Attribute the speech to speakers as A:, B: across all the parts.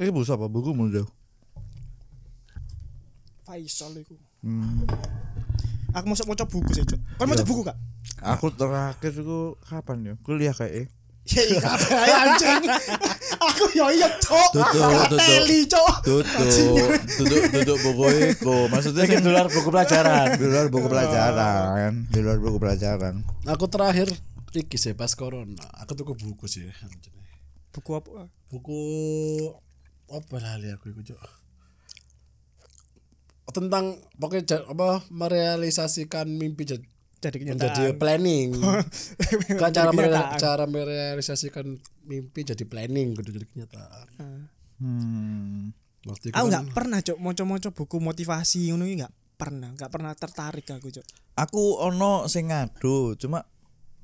A: Iki buku apa? Buku mau jauh.
B: Faisal iku. Aku mau maca buku sih, Cuk. Kan maca
A: Hmm. Iya.
B: buku gak?
A: Aku terakhir itu kapan ya? Kuliah kayak eh.
B: Ya iya, ae anjing. Aku yo iya, Cuk.
A: Tutup, tutup.
B: Teli, Cuk.
A: Tutup, tutup, tutup buku itu. Maksudnya
C: Ini
A: kan
C: di luar buku pelajaran.
A: di luar buku pelajaran, di luar buku pelajaran.
C: Aku terakhir iki sih pas corona. Aku tuku buku sih.
B: Buku apa?
C: Buku apa lali aku iku, Cuk? Tentang pokoknya ja- apa merealisasikan mimpi jad-
B: Jadi
C: menjadi
B: kenyataan.
C: planning. Kan cara mere-
B: Kenyataan.
C: cara merealisasikan mimpi jadi planning kudu jadi kenyataan.
A: Hmm.
C: Waktu itu
B: Ah. Aku
C: kan-
B: nggak pernah cok moco-moco buku motivasi ngono iki nggak pernah, nggak pernah tertarik aku cok.
A: Aku ono sing ngadu, cuma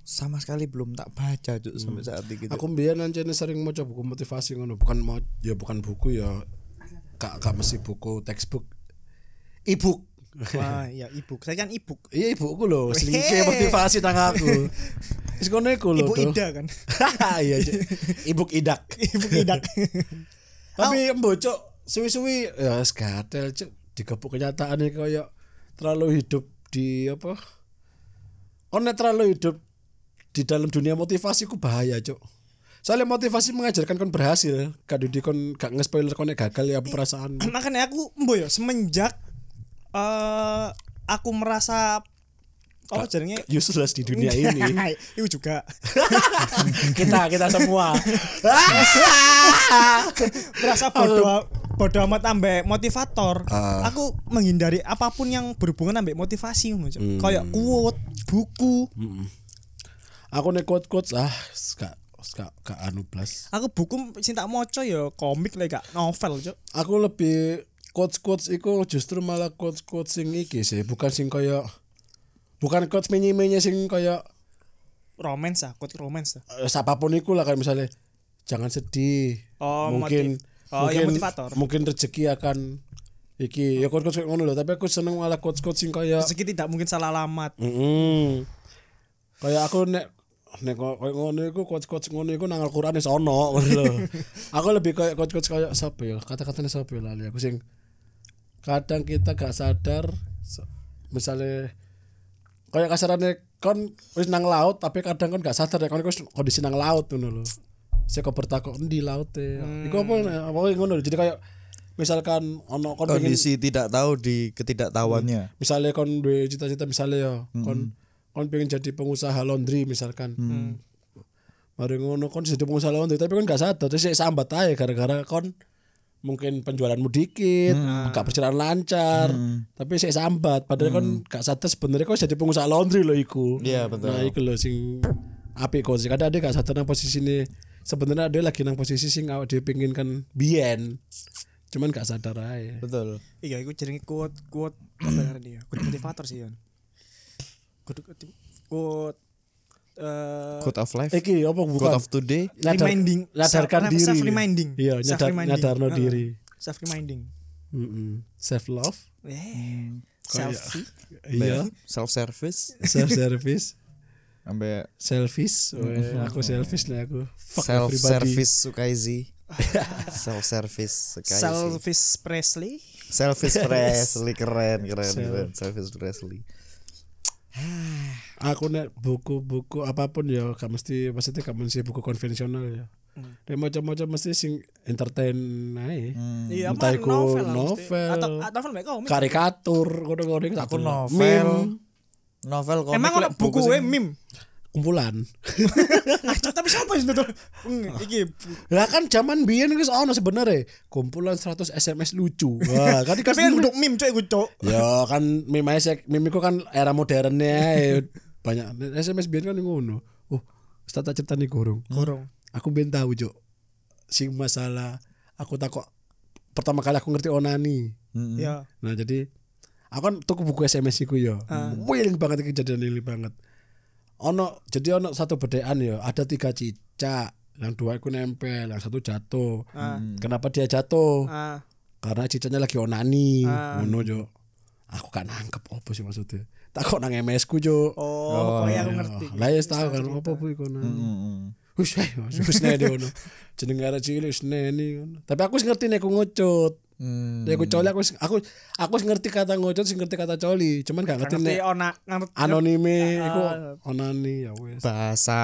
A: sama sekali belum tak baca cuk sampai saat ini. gitu.
C: Aku mbiyen anjene sering maca buku motivasi ngono, bukan mau ya bukan buku ya kak kak mesti buku textbook e-book.
B: Wah, ya ibu, saya kan ibu,
C: Iya ibuku lho,
B: Weh.
C: sering kayak motivasi nang aku. Wis ngono iku lho.
B: ibu
C: tuh.
B: ida kan,
C: Iya, Cuk. Ibuk idak.
B: ibu idak.
C: Tapi mbocok suwi-suwi ya wis gatel cuk digepuk kenyataane koyo terlalu hidup di apa? Oh, nek terlalu hidup di dalam dunia motivasi ku bahaya, Cuk. Soalnya motivasi mengajarkan kon berhasil, kadu di kon gak nge-spoiler kon nek gagal ya apa perasaan.
B: Makanya aku mbo yo semenjak eh aku merasa oh jadinya
C: Useless di dunia ini.
B: Ibu juga
C: kita kita semua.
B: merasa bodoh bodoh amat ambek motivator.
C: Ah.
B: Aku menghindari apapun yang berhubungan ambek motivasi ngono Cok.
C: Hmm.
B: Kayak quote, buku.
C: Aku nek quote-quotes ah, gak gak gak anu plus.
B: Aku buku cinta moco ya komik lah gak novel cok.
C: aku lebih quotes quotes iku justru malah quotes quotes sing iki sih bukan sing kaya bukan quotes menye menye sing kaya
B: Romance ah, quote romance ah.
C: eh, siapapun iku lah kan misalnya jangan sedih
B: Oh,
C: mungkin
B: motiv- oh, ya motivator.
C: mungkin rezeki akan iki ya quotes quotes ngono loh tapi aku seneng malah quotes quotes sing kaya
B: Rezeki tidak mungkin salah alamat.
C: Mm-mm. Mm-hmm. Kayak aku nek nek kok koyo ngono iku coach-coach ngono iku nang Al-Qur'an wis ono ngono lho. Aku lebih kayak coach-coach kayak sapa ya? Kata-katane sapa ya lali aku sing kadang kita gak sadar so- misalnya kayak kasarannya kon wis nang laut tapi kadang kon gak sadar ya kon iku wis kondisi nang laut ngono lho. Saya kok bertakok di laut ya. Iku apa apa ngono lho. Jadi kayak misalkan ono kon pengen-
A: Kondisi tidak tahu di ketidaktahuannya.
C: misalnya kon duwe cita-cita misalnya ya
A: Hmm.
C: kon kon pengen jadi pengusaha laundry misalkan hmm. mari ngono kon jadi pengusaha laundry tapi kon gak sadar terus ya sambat aja gara-gara kon mungkin penjualanmu dikit
A: Hmm.
C: gak berjalan lancar tapi saya sambat padahal kon gak sadar sebenarnya kon jadi pengusaha laundry loh iku
A: Hmm. Iya, betul.
C: nah iku loh sing apik kon sih kadang ada gak sadar nang posisi ini sebenarnya ada lagi nang posisi sing awak dia pengen kan bien cuman gak sadar aja
A: Betul.
B: Iya, iku jenenge quote quote apa ya dia? Quote motivator sih Yon. Quote quote eh
A: Code of life.
C: Iki apa bukan?
A: Code of today.
C: Nyadar-
B: reminding,
C: nyadarkan
B: self-
C: diri
B: self reminding.
C: iya nyadar nyadarno diri
B: Self reminding.
C: self love
B: Eh,
C: Hmm,
B: selfie.
C: iya
A: Self service.
C: self service
A: Ambek
C: selfish Weh, aku selfish lah aku Fuck
A: self
C: everybody.
A: service Sukaizi. self service Sukaizi.
B: Selfish Presley.
A: Selfish Presley keren keren
C: Self-
A: keren Selfish Presley.
C: aku nek buku-buku apapun ya gak mesti maksudnya gak mesti buku konvensional ya Nek macam-macam mesti sing entertain ae.
B: Iya,
C: Hmm, Entah
B: apa,
C: iku
B: lah mesti.
C: novel.
B: Atau ah, novel mereka komik.
C: Karikatur ngono-ngono iku tak
A: Aku
C: delok.
A: novel. Novel komik.
B: Emang
A: lek
B: ono buku
A: sing-
B: e meme.
C: kumpulan.
B: Nah, Cok, tapi siapa sih itu? Iki bu-
C: Lah kan zaman biyen wis ono sebenarnya kumpulan 100 SMS lucu. Wah, kan
B: tapi kan duduk meme cok iku cok.
C: Ya kan meme sek meme ku kan era modernnya ya banyak SMS biyen kan ngono. Oh, Ustaz tak ciptani gorong.
B: Gorong.
C: Aku ben tahu, Cuk. Sing masalah aku takut pertama kali aku ngerti onani.
B: Ya.
C: Nah, jadi aku kan tuku buku SMS iku ya. Wiling banget iki kejadian ini banget. Ono jadi ono satu bedaan ya, ada tiga cicak. Yang dua aku nempel, yang satu jatuh. Kenapa dia jatuh?
B: Ah,
C: karena cicaknya lagi onani ngono jo aku kan nangkep opo sih maksudnya tak kok nang MS ku jo
B: oh, kok ya aku ngerti.
C: lah ya tahu kan opo bu iku nang Wis eh wis nene ngono. Jeneng arek cilik wis nene ngono. Tapi aku wis ngerti nek aku ngocut.
A: Hmm.
C: Nek aku coli aku wis- aku aku wis ngerti kata ngocut, sing ngerti kata coli, cuman gak ngerti
B: ngerti
C: nek
B: ona ngerti
C: anonime
B: Ah.
C: iku onani ya wis.
A: Bahasa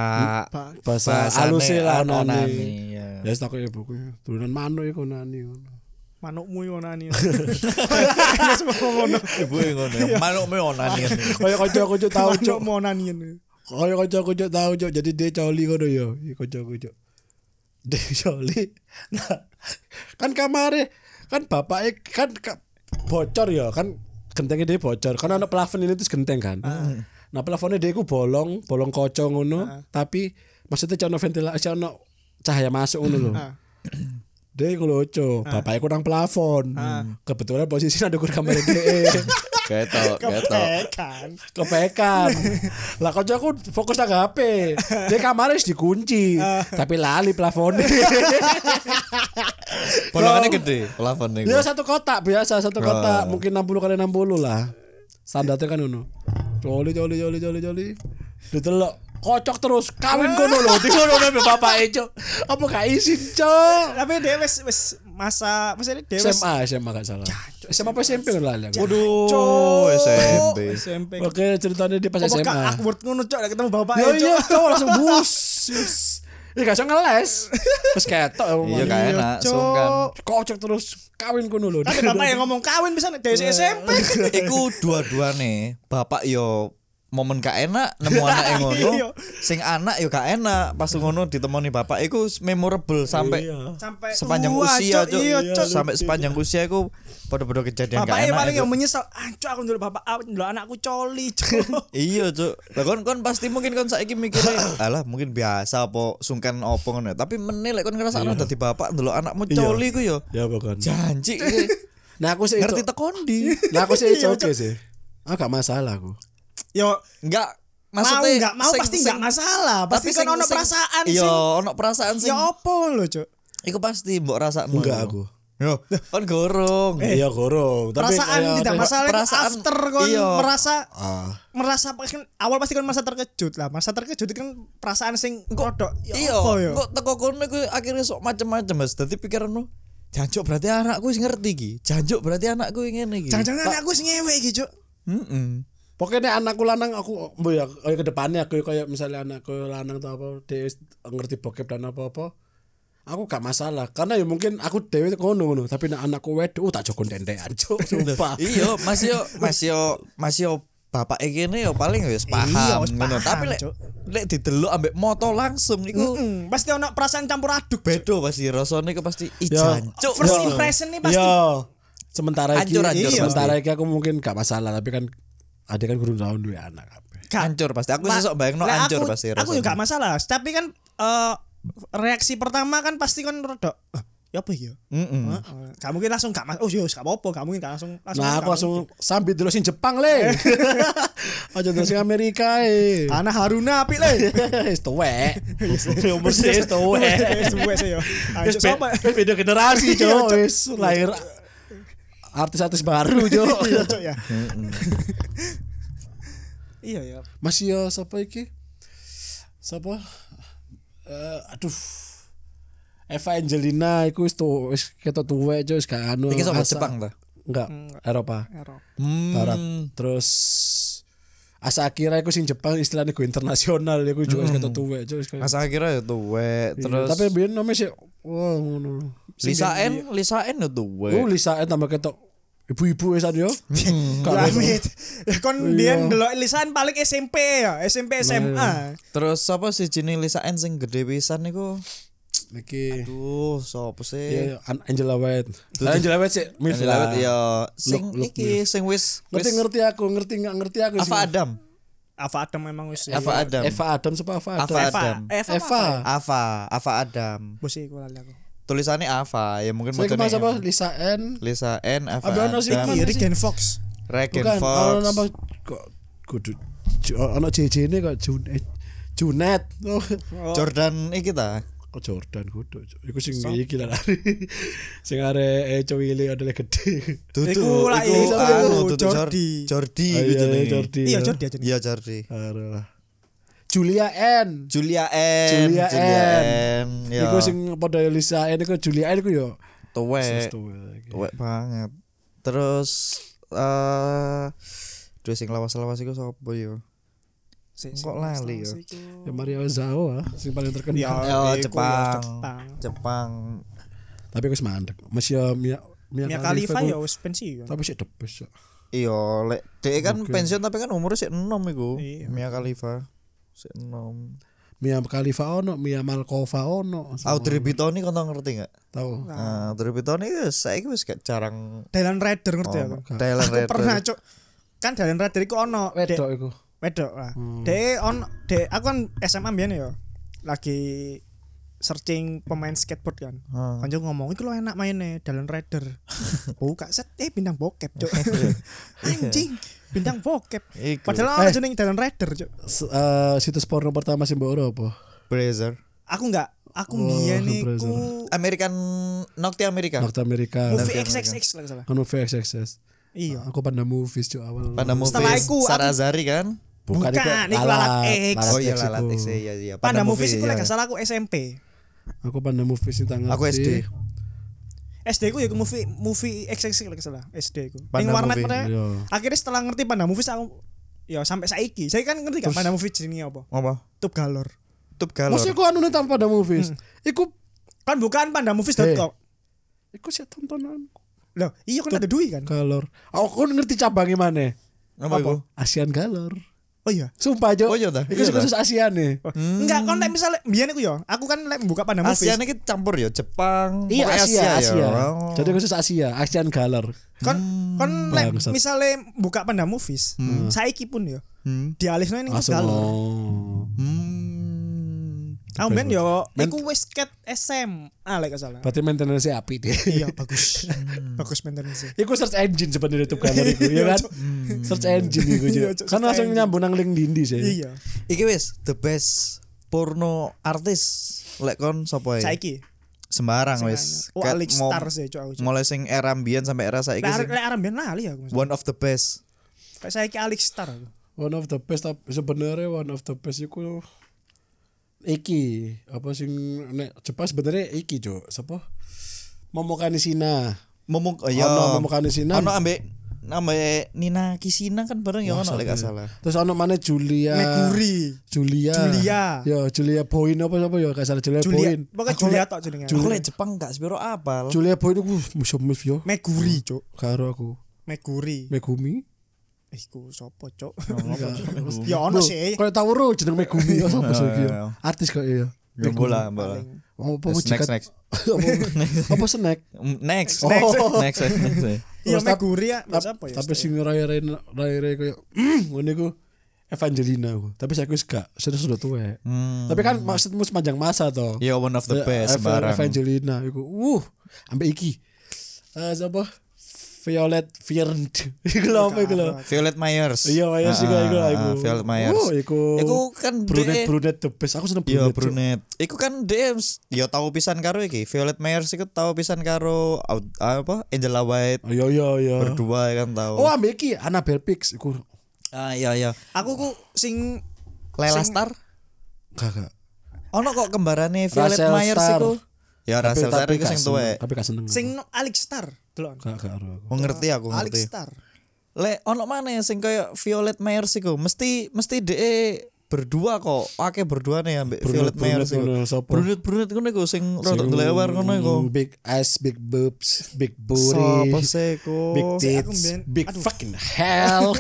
C: Bahasa aluse
A: oh,
C: lah onani.
A: ya.
C: Ya wis takoke ibuku, turunan manuk iku onani ngono.
B: manukmu anu. onani
A: Ibu yang ngono. ya. Manuk me onani.
C: Kaya kanca-kanca tau cuk.
B: manukmu anu. onani
C: Kaya kanca-kanca tau cuk, jadi dia coli ngono ya, Iya, kanca-kanca. Dia coli. Nah, kan kamare kan bapaknya kan ka- bocor ya, kan gentengnya dia bocor. Kan anak plafon ini terus genteng kan. Nah, plafonnya dia ku bolong, bolong kocok ngono, tapi maksudnya cana ventilasi cana cahaya masuk ngono lho.
B: Ah.
C: Dia ku lucu, bapaknya ku nang plafon. Kebetulan posisi ada kamar dia.
A: Ketok, ketok.
B: kepekan
C: kepekan lah kocok aku fokus nang HP dia kamarnya wis dikunci tapi lali plafonnya
A: Bolongannya gede, plafonnya.
C: dia satu kotak biasa satu kotak mungkin 60 kali 60 lah standarnya kan ngono coli coli coli coli coli ditelok kocok terus kawin kono lho di kono mbe bapak ejo apa gak izin cok
B: tapi dia wis wis masa maksudnya dia Ya, wis
C: SMA SMA gak salah SMA apa SMP lali
A: Ya.
C: aku
B: Oh,
A: Waduh, SMP.
B: SMP
C: oke ceritanya dia pas
B: Apa gak
C: SMA
B: awkward ngono cok ketemu bapak e,
C: Ya iya,
B: cok
C: cowok langsung bus. Yes. Ya gak usah ngeles. Terus ketok ya
A: Iya gak enak, kan.
B: Cok.
A: sungkan.
C: Kocok terus kawin kono lho.
B: tapi bapak yang ngomong kawin bisa dari SMP
A: Iku dua-dua nih, bapak yo momen gak enak nemu anak yang
B: Iya.
A: ngono sing anak yo gak enak pas ngono ditemoni bapak iku memorable sampai
C: Iya.
B: sampai
A: sepanjang
B: tua,
A: usia Cuk.
B: iya cok
A: sampai sepanjang usia iku padha-padha kejadian gak
B: Bapaknya
A: enak
B: paling
A: iku.
B: yang menyesal, anco aku dulu bapak, aku dulu anakku coli, cok.
A: iya cuk lah kon kon pasti mungkin kon saiki mikirnya alah mungkin biasa apa sungkan apa ngono tapi menilai kon ngerasa
B: Iya.
A: ana dadi bapak ndelok anakmu coli ku yo
C: Ya bukan.
A: janji iya.
C: Nah aku sih
A: ngerti Iya,
C: itu.
A: tekon di
C: Nah aku sih
B: Iya,
C: itu oke sih. Ah gak masalah aku.
B: Yo,
A: enggak
B: mau
A: maksudnya
B: nggak mau
A: sing-
B: pasti
A: sing-
B: nggak masalah, pasti kan
A: tapi sing-
B: ono
A: sing-
B: perasaan
A: iya
B: sing.
A: ono perasaan sing
B: Ya apa lo, cok?
A: iku pasti mbok rasakno
C: Enggak
A: yo.
C: aku.
A: yo kon gorong
C: Iya gorong. Tapi
B: Eh, Perasaan
C: kayak-
B: tidak masalah. itu
A: iya, perasaan,
B: after kon
A: iya.
B: merasa
C: Ah.
B: merasa kan awal pasti kan merasa terkejut lah. Merasa terkejut itu kan perasaan sing kodok. Ya
A: iya
B: apa ya?
A: kok teko kono iku akhirnya sok macem-macem Mas dadi pikiranmu janjuk berarti anakku wis ngerti iki janjuk berarti anakku ingin iki
B: Jangan-jangan anakku sing ngewek iki, cok.
A: heeh
C: Pokoknya anakku lanang aku mbo ya kayak ke depannya aku kayak misalnya anakku lanang atau apa dia wis ngerti bokep dan apa-apa. Aku gak masalah karena ya mungkin aku dewe ngono ngono tapi nek anakku wedok uh, tak jokon dendean cuk sumpah.
A: iya mas yo mas yo mas yo bapak gini yo paling wis paham
B: Iya, wis
A: ngono
B: paham,
A: tapi lek
B: Cuk.
A: lek didelok ambek moto langsung niku
B: Hmm, pasti ono perasaan campur aduk.
A: bedo pasti rasane kok pasti i
B: Ya,
C: Yo.
A: jancuk
B: First
A: Yo.
B: impression nih
A: Iya.
B: pasti.
C: Yo, Iya. sementara iki,
A: Hancur, hancur,
C: iya, sementara iki aku mungkin gak masalah, tapi kan ada kan gurun tahun dua anak apa.
B: Gak-
A: hancur pasti aku sih sok bayangno
B: Lah,
A: hancur
B: aku-
A: pasti
B: Aku
A: rasane.
B: juga gak masalah, tapi kan eh, reaksi pertama kan pasti kan rodok. "Ah, Ya apa ya?
A: Mm-mm.
B: Heeh. Gak mungkin langsung gak mas. Oh, yo gak apa-apa, gak mungkin gak langsung langsung.
C: Nah,
B: gak
C: aku langsung
B: mungkin.
C: sambil dulu sing Jepang le. Aja dulu sing Amerika eh.
B: Tanah Haruna apik le.
C: Wis tuwek. Umur sih wis tuwek. Nah,
B: Wes wes ya.
C: Wis
B: Anjir
C: be-
B: sapa?
C: wis beda generasi, iya, Cok. Wis lahir artis-artis baru,
B: Iya,
C: Cok.
B: Cok, ya. Iya ya.
C: Masih ya siapa iki? Siapa? Eh, aduh. Eva Angelina iku wis tu wis ketok tuwek Cok, wis gak anu.
A: iki sok
C: asa-
A: Jepang ta
C: Enggak, Eropa.
B: Error.
A: Hmm.
C: Barat. Terus Asa Akira iku sing Jepang istilahnya gue internasional iku juga wis ketok tuwek Cok, wis kayak-
A: Masa akhirnya ya tuwek terus
C: Iya, Tapi biyen namanya sih wah ngono.
A: Lisa N Lisa N ya tuwek
C: Oh, Lisa eh, tambah ketok ibu-ibu wis yo.
A: Hmm.
B: Amit. Ya,
C: Iya.
B: Kon biyen delok lisan paling SMP ya, SMP SMA.
A: Terus apa sih jenis Lisa N sing gede pisan niku?
C: Niki
A: Duh, sopo sih?
C: Iya, An- Angela White. Angela White iya. sih milf
A: Yang
C: lah.
A: dilewat ya sing
C: Look, look,
A: iki sing wis
C: Ngerti
A: wis
C: ngerti aku, ngerti nggak ngerti aku sih. Iya,
A: Ava Adam.
B: Ava Adam memang wis.
A: Ava Adam.
C: Eva Adam siapa Eva Adam?
A: Ava Adam.
B: Eva.
C: Eva.
B: Eva.
A: Ava, Ava Adam.
B: Bos iku lali aku.
A: Tulisannya Ava, ya mungkin
C: Saya kemana
A: modelnya
C: siapa? Lisa N.
A: Lisa N, Ava
C: Ada ono sing
A: Adam,
C: mana?
B: Iri Gen Fox.
A: Regen
C: Bukan, ono
A: Fox.
C: nama kok oh, kudu Ju- ono JJ ini kok Jun eh, Junet. Oh,
A: Jordan iki ta.
C: Kok Jordan kudu. Iku sing iki lah. Sing are Eco Willy adalah gede.
A: Dudu,
B: Iku lah,
A: iku
B: iku,
A: anu,
B: iku,
A: Dudu Jor-
B: Jordi.
A: Ah, Jordi gitu
C: Oh,
A: iku
C: iya,
A: jenenge.
C: Jordi.
B: Iya, Jordi aja.
A: Iya Jordi.
C: Aduh. Julia N.
A: Julia N
C: Julia N.
A: ya
C: Iku sing padha Lisa N iku Julia N iku yo. ya, gitu.
A: tuwek
C: Sesuai.
A: tuwek banget terus eh dua sing lawas-lawas iku sapa ya
B: Si-
A: Kok lali ya?
B: si-
C: Ya Maria Ozawa sing paling
B: Ya,
C: terkenal.
A: Oh,
B: iku
A: Jepang.
B: ya, Jepang.
A: Jepang
C: Tapi aku wis mandek. Masih Mia Mia,
B: Mia
C: Khalifa
B: Khalifa
C: aku-
B: ya wis pensiun.
C: Tapi sih debes ya.
A: iya lek dhek kan pensiun tapi kan umurnya sik enom iku
B: Iya.
A: Mia Khalifa sik enom
C: Mia Khalifa ono, Mia Malkova ono. Sama-
A: Audrey Bitoni kau tau ngerti nggak?
C: Tahu.
A: Nah, Audrey Bitoni saya wis kayak jarang
B: Dylan Rider ngerti
A: Oh,
B: aku.
A: Thailand
B: Aku
A: Raider.
B: pernah cuk. Kan Dylan Rider iku ono dek-
C: Wedok iku.
B: wedok lah. Dek on dek aku kan SMA mbiyen ya. Lagi searching pemain skateboard kan.
A: Hmm.
B: Kanjeng ngomong iku lo enak mainnya Dylan Rider. Buka set eh bintang bokep cuk. Anjing, bintang bokep.
A: Iya. Iku. Eh.
B: Padahal ono jeneng Dylan Rider cuk.
C: S- eh, situs porno pertama sing mbok ora apa?
A: Brazer.
B: Aku enggak aku mbiyen
C: Brother.
B: iku
A: American Nocti Amerika.
C: Dokter Amerika.
B: movie XXX lah salah.
C: Anu VXXS.
B: Iya.
C: Aku panda movies cuk awal.
A: Panda Movies.
B: Setelah iku, aku-
A: Sarazari kan?
B: Bukan,
C: itu,
B: iku Lalat X.
A: Oh iya
C: X
A: lah
C: iku.
A: Latex iya iya.
B: Panda Movies iku
A: iya.
B: lek gak salah aku SMP.
C: Aku panda movies sing tanggal.
A: Aku SD.
B: SD ku ya ke movie movie XXX lek salah SD ku. Ning
A: Panda
B: warnet
A: movie,
B: mereka.
C: iya.
B: Akhirnya setelah ngerti Panda Movies aku ya sampai saiki. Saya kan ngerti gak Panda Movie jenenge apa?
A: Apa?
B: Tub galor.
A: Tup galor.
C: Mesti aku anu nih tanpa panda movies. Iku
B: Kan bukan pandamovies.com.
C: iku sih tontonan
B: Loh, iya kan ada duit kan?
C: galor. Aku kan ngerti cabangnya mana.
A: Apa iku?
C: Asian galor.
B: Oh iya.
C: Sumpah Jo.
A: Oh, iya ta?
C: Iku
A: Iya
C: sing
A: ta?
C: khusus Asian nih.
B: Oh, Enggak, kon lek misale biyen iku ya, aku kan lek buka Panda Movies.
A: Asia ini campur ya Jepang.
C: Iya
A: pokoknya
C: Asia, Asia.
A: ya.
C: Jadi khusus Asia, Asian galor.
B: Kon kon lek
C: bangsat.
B: misale buka Panda Movies, saiki pun ya
A: Hmm.
B: dialihno ning
C: Langsung.
B: galor.
C: oh.
A: Hmm.
B: Aku ben yo iku wis ket SMA lek gak salah.
C: Berarti maintenance api deh.
B: Iya, bagus.
C: Hmm.
B: Bagus maintenance.
C: Iku search engine sebenarnya YouTube kamar iku, ya kan? search engine iku
B: Iya,
C: Jo.
B: Cuk,
C: Kan
B: search
C: langsung
B: engine.
C: nyambung nang link dindi sih.
B: Iya.
A: Iki wis the best porno artis lek kon sapa ya?
B: Saiki.
A: Sembarang wis.
B: Oh,
A: Kat
B: Alex
A: mo-
B: Star sih cok aku. cok.
A: Mulai sing era mbiyen sampai era saiki
B: Lek
A: sing
B: lek Arambian lali aku. Mas.
A: one of the best.
B: Kayak saiki Alex Star aku.
C: One of the best tapi sebenarnya one of the best iku iki apa sing nek Jepang sebenarnya iki Jo. Sapa? Momokani Sina.
A: Momok oh,
C: Ono
A: ya.
C: Momokani Sina.
A: Ono ambek ambek Nina Kisina kan bareng ya ono lek
C: iya.
A: gak salah.
C: Terus ono mana Julia
B: Meguri.
C: Julia
B: Julia.
C: Yo Julia Boyin apa sapa yo gak salah Julia,
B: Julia,
C: Boyin.
B: pokoknya
C: Aku
B: Julia
C: lek-
B: tok jenenge.
A: Aku lek Jepang gak sepiro apa.
C: Julia Boyin iku musuh musuh yo.
B: Meguri,
C: Hmm.
B: Cuk.
C: Karo aku
B: Meguri. Eh,
C: Megumi.
B: Iku sapa, Cuk?
C: Oh,
A: Enggak.
B: Ya ono sih.
C: Kau tahu ro jeneng Megumi yo sapa sih iki yo?
A: Iya.
C: Artis kok iya.
A: Ya bola, bola.
C: Apa
A: Next,
C: jikat-
A: next, Mm,
C: Apa- Apa snack?
A: Next,
C: Next.
A: next, next, next, next.
B: Iya
C: Terus tap-
B: Meguri ya,
C: Tap-
B: enggak apa ya.
C: Tapi sing rai rai rai rai koyo "Hmm, ngene iku Evangelina aku. Tapi saya wis gak serius udah tua.
A: Hmm.
C: Tapi kan maksudmu sepanjang masa toh.
A: Ya one of the
C: Eh,
A: best
C: Eva-
A: barang.
C: Evangelina iku. Uh, ambek iki. Eh sapa? Violet Virnd. Iku lho apa iku lho?
A: Violet Myers.
C: Iya, Myers iku iku lah,
A: Ah,
C: iku.
A: Violet Myers.
C: Oh, iku.
A: Iku kan
C: Brunet
A: dia-
C: brunet the best. Aku seneng
A: Iya
C: brunet. Cuk.
A: brunet. Iku kan dia ya tahu pisan karo iki. Violet Myers iku tahu pisan karo au- apa Angela White
C: Oh, Iya iya iya.
A: berdua ya kan tahu.
C: Oh, ambek iki Annabelle Pix iku.
A: Ah iya iya.
B: Aku ku sing
A: Lela Star.
C: Kakak.
A: Ono kok kembarane Violet
C: Russell
A: Myers
C: Star.
A: iku. Ya Russell Star iku sing tuwek.
C: Tapi gak seneng.
B: sing no- Alex Star, delok.
C: Gak gak ro aku.
A: Oh, ngerti aku
B: Alex
A: ngerti.
B: Star.
A: Lek ono mana sing kayak Violet Myers iku mesti mesti dhek berdua kok akeh berdua nih ambek Violet Myers
C: brunet ngono,
A: iku.
C: sapa?
A: Brunet brunet ngono iku sing rodok lewer ngono iku.
C: Mm, Big ass, big boobs, big
A: Sapa
C: booty,
A: sih Oh, iku?
C: big
B: aku
C: tits,
B: mbien-
C: big fucking hell.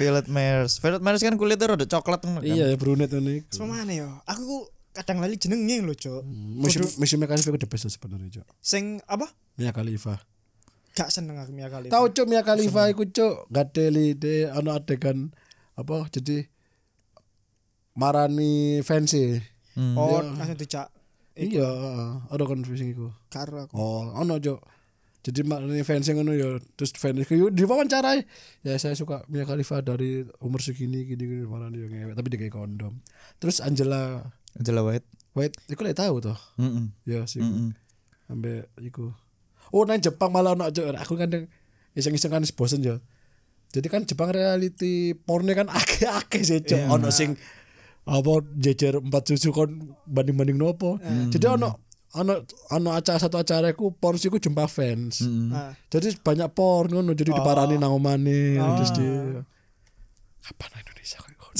A: Violet Myers. Violet Myers kan kulitnya rodok coklat ngono kan.
C: iya, brunet ini.
B: Semana mana ya? Aku ku kadang lali jenenge lho, Cuk.
C: Hmm. Musim musim Khalifa itu the best loh sebenarnya, Cok.
B: Sing apa?
C: Mia Khalifa.
B: Gak seneng aku Mia kali.
C: Tahu Cok Mia Khalifa iku Cok, gadeli de ana adegan apa jadi marani fancy.
B: Oh,
C: Hmm.
B: langsung dijak
C: Iya, ada confusing iku.
B: karo aku.
C: Oh, ono jo. Jadi maknanya fans yang ngono ya terus fans itu diwawancara ya saya suka Mia Khalifa dari umur segini gini gini malah dia ngewek tapi dia kayak kondom. Terus Angela
A: Angela White.
C: White, iku lek tahu toh.
A: Mm-mm.
C: Ya sih. Ambek iku. Oh, nang Jepang malah ono jo. Aku kadang iseng-iseng kan bosen jo. Jadi kan Jepang reality pornnya kan akeh-akeh sih, Cok. Ono sing apa jejer empat susu kon banding-banding nopo. Jadi ono ono ono acara satu acara iku porn iku jumpa fans.
B: Ah.
C: Jadi banyak porn ngono jadi diparani nang omane terus di kapan nang Indonesia kok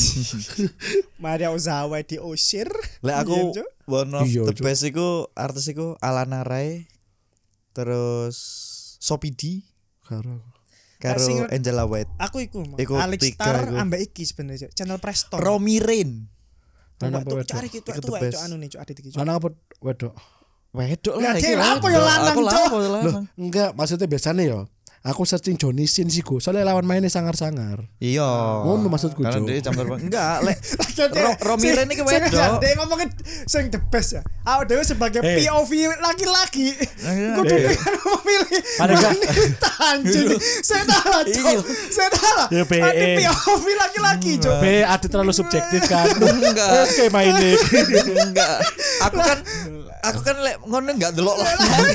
B: Maria Ozawa diusir.
A: Lek aku
B: Iya, Cuk.
A: one of
C: Iya,
A: the
C: Cuk.
A: best iku artis iku Alana Rai terus Sophie D
C: karo
A: karo
B: sing-
A: Angela White.
B: Aku iku, Mang.
A: Iku
B: Alex
A: tiga
B: Star
A: iku.
B: ambek iki sebenarnya, Cuk. channel Presto.
A: Romy Rain.
B: Tuwek,
C: Lanang apa
B: tuh,
C: wedok?
B: cari gitu
A: Iku the
B: tuh
A: best.
B: itu anu nih, Cuk, adik iki, Cuk.
C: Lanang apa wedok?
A: Wedok
B: Lah,
A: iki
B: dia lah, apa
A: wedok.
B: ya lanang,
A: Aku lah,
B: Cuk?
A: apa ya lanang?
C: Enggak, maksudnya biasanya ya. Aku searching Johnny Sin sih gue. Soalnya lawan mainnya sangar-sangar.
A: Iya.
C: Ngono maksudku,
A: Karena
C: Cuk.
A: dia campur banget. Enggak, lek
B: Cuk, dia-
A: Ro- Romy
B: sing-
A: Rain iki
B: sing-
A: wedok.
B: Dia ngomongin sing the best ya. Aku dewe sebagai
C: Eh.
B: POV laki-laki.
A: iya,
B: Kudu
C: iya.
B: dengan memilih
C: Ada enggak?
B: wanita anjing. Saya salah, Cuk. Saya salah.
C: Iya, PE.
B: Ada POV laki-laki, Cuk.
C: B ada terlalu subjektif kan.
A: Enggak.
C: Oke mainnya.
A: enggak. Aku kan aku kan lek ngono enggak delok lanang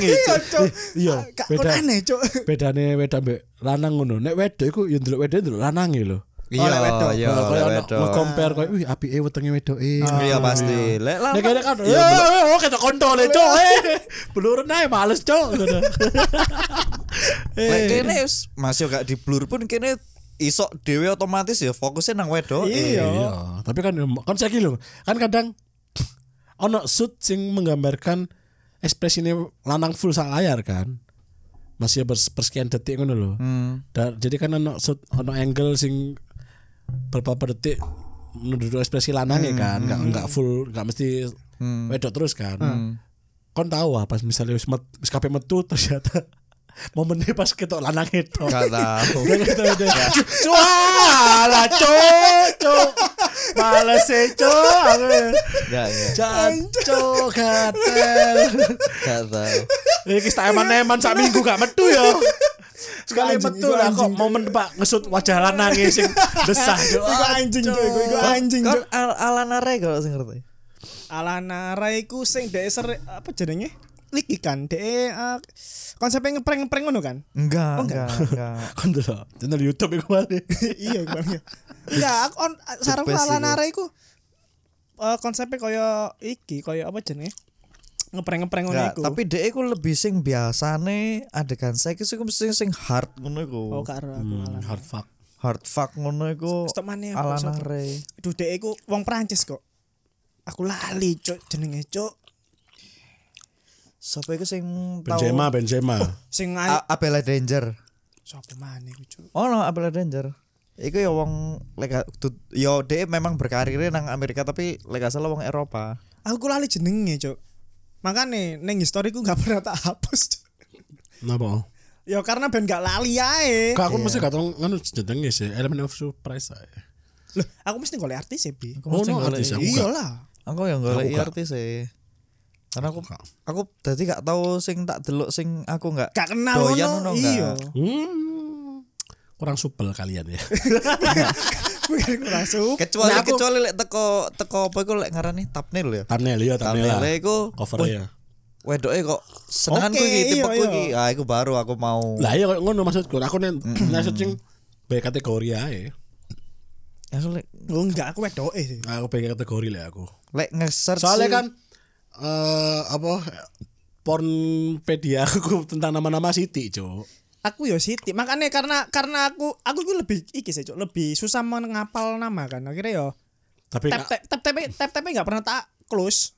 B: Iya,
A: gitu.
B: Cuk.
C: Iya,
B: Kak,
C: beda.
B: kon aneh, Cuk.
C: Bedane wedok mbek lanang ngono. Nek wedok iku ya ndelok wedok ndelok lanang ya lho.
A: Iya,
B: lek wedok.
A: iya,
C: Kalau
A: Oh, lek
C: koyo
A: wedok.
C: compare koyo wih apike wetenge wedoke.
A: Iya pasti. Lek
C: Nek
A: lanang
C: kene kan ya oh ketok kontol e cok. Beluren ae males cok. Ngono.
A: Lek kene wis- masih gak di blur pun kene isok dhewe otomatis ya fokusnya nang wedok.
B: Iya.
C: Iya, tapi kan kan saiki lho. Kan kadang ono shoot sing menggambarkan ekspresine lanang full sak layar kan. Masih pers- persekian detik ngono lho.
A: Hmm.
C: Da- jadi kan ono shoot ono angle sing beberapa detik menurut ekspresi lanangnya kan, nggak nggak full, nggak mesti wedok terus kan. Kon tahu ah pas misalnya wis met, wis kabeh metu ternyata momennya pas ketok lanang itu.
A: Gak tahu.
C: gitu, Cuala cok cok Males e cok Aku
B: ya.
A: Gak gak-
C: Jancok gatel
A: gak tahu.
C: Iki tak eman-eman sak minggu gak metu yo Sekali
B: Anjing,
C: metu
B: iku
C: lah kok
B: anjing.
C: momen pak ngesut wajah lanang e sing desah cok
B: Iku anjing, Cuk. Iku iku anjing, Cuk.
A: Kan Al- Alana Ray kalau sing ngerti.
B: Alana Rai ku sing dhek ser apa jenenge? Liki kan dhek uh, konsepnya ngeprank-ngeprank ngono kan?
A: Enggak, Oh, enggak, enggak.
C: Kon delok channel YouTube iku male.
B: iya gue ya. Enggak, aku on sarung
A: best
B: ala
A: itu.
B: nara iku eh, konsepnya kaya iki, kaya apa jenenge? Ngeprank-ngeprank ngono
A: Enggak,
B: iku.
A: tapi dhek iku lebih sing biasane adegan seks iku mesti sing hard ngono iku.
B: oh karo aku
A: Hmm.
B: ala.
C: Hard fuck.
A: Hard fuck ngono iku.
B: Stop maneh aku,
A: Alana
B: stop.
A: Ray.
B: Aduh, dhek iku wong Prancis kok. Aku lali, cuk, jenenge cuk.
A: Sopo iku sing tau
C: Benzema Benzema.
B: Sing ae
A: A- Abela Danger.
B: sapa maneh iku, cuk.
A: Oh no, Abela Danger. Iku ya wong lega yo dhek memang berkarirnya nang Amerika tapi lega salah wong Eropa.
B: Aku lali jenenge, cuk. Makane ning historiku gak pernah tak hapus, cuk.
C: Napa?
B: Ya
C: Iya.
B: karena ben gak lali ae.
C: Kok aku mesti gak tau nganu jenenge sih element of surprise ae.
B: Loh, aku mesti golek artis e, Bi.
C: Oh no artis aku gak.
B: Iyalah.
A: Aku yang golek
C: Aku gak.
A: artis e. sih. Karena aku
C: gak.
A: aku dadi gak tahu sing tak delok sing aku gak
B: Gak kenal
A: doyan
B: ngono.
A: ngono gak.
B: Iya.
C: Hmm. Kurang supel kalian ya.
B: Mungkin kurang sup.
A: Kecuali
C: Nah, aku-
A: kecuali lek teko teko apa iku lek ngarani thumbnail ya.
C: Thumbnail ya thumbnail.
A: Thumbnail iku wih,
C: Covernya.
A: Wedoke kok senenganku
B: Oke,
A: iki
B: iya,
A: tipeku
B: iya.
A: iki. Ah iku baru aku mau.
C: Lah iya kayak ngono maksudku. Aku nek nek searching B kategori ae.
A: Aku lek
B: Oh enggak, aku wedoke sih.
C: Nah, Aku B kategori lah aku.
A: lek nge-search
C: Soalnya
A: sih-
C: kan eh apa pornpedia aku tentang nama-nama Siti, Cuk.
B: Aku yo Siti. Makanya karena karena aku aku itu lebih iki sih, Cuk. Lebih susah mengapal nama kan. Akhirnya yo
C: Tapi
B: tap
C: nggak-
B: tap tap tap tap tap enggak pernah tak close.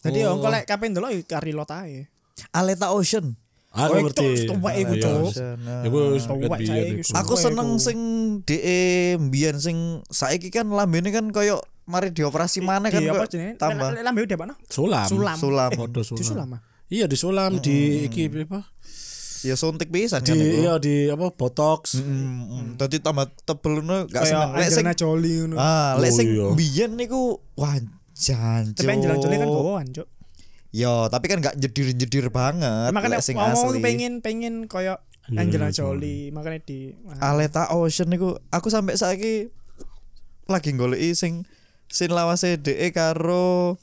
B: Jadi yo
A: Oh.
B: engko lek kape ndelok yo kari lot ae.
A: Aleta Ocean.
C: aku
B: Oh, itu
C: ngerti.
B: tuwek iku,
C: Iya.
B: Cuk.
C: Iku wis ya,
B: Tuwek,
C: biyen
B: saya
C: iku.
B: iku su-
A: Aku
B: Suwe
A: seneng
B: aku.
A: sing DE mbiyen sing saiki kan lambene kan koyo mari dioperasi mana kan
B: Di
A: kok
B: apa jenenge? Lek-
A: tambah
B: lek Lambe udah mana?
C: Sulam.
B: Sulam. Eh,
A: sulam.
C: Podo sulam.
B: Di Sulam. ah?
C: Iya di sulam di iki apa?
A: Ya suntik pisan kan
C: Di
A: iku.
C: iya di apa botox.
A: Mm, Dadi tambah tebel ngono gak
B: Kayak
A: seneng. Lek sing
B: Angelina Jolie ngono.
A: ah, lek
C: Oh,
A: sing
C: iya.
A: biyen niku wah jancuk.
B: Tapi Angelina Jolie kan gowoan, Cuk.
A: Yo, tapi kan gak nyedir-nyedir banget.
B: Makanya
A: lek sing
B: mau
A: asli. Hmm,
B: pengen pengen koyo Angelina Jolie, makanya di ah,
A: Aleta Ocean niku aku sampai saiki lagi goleki sing sin lawase DE karo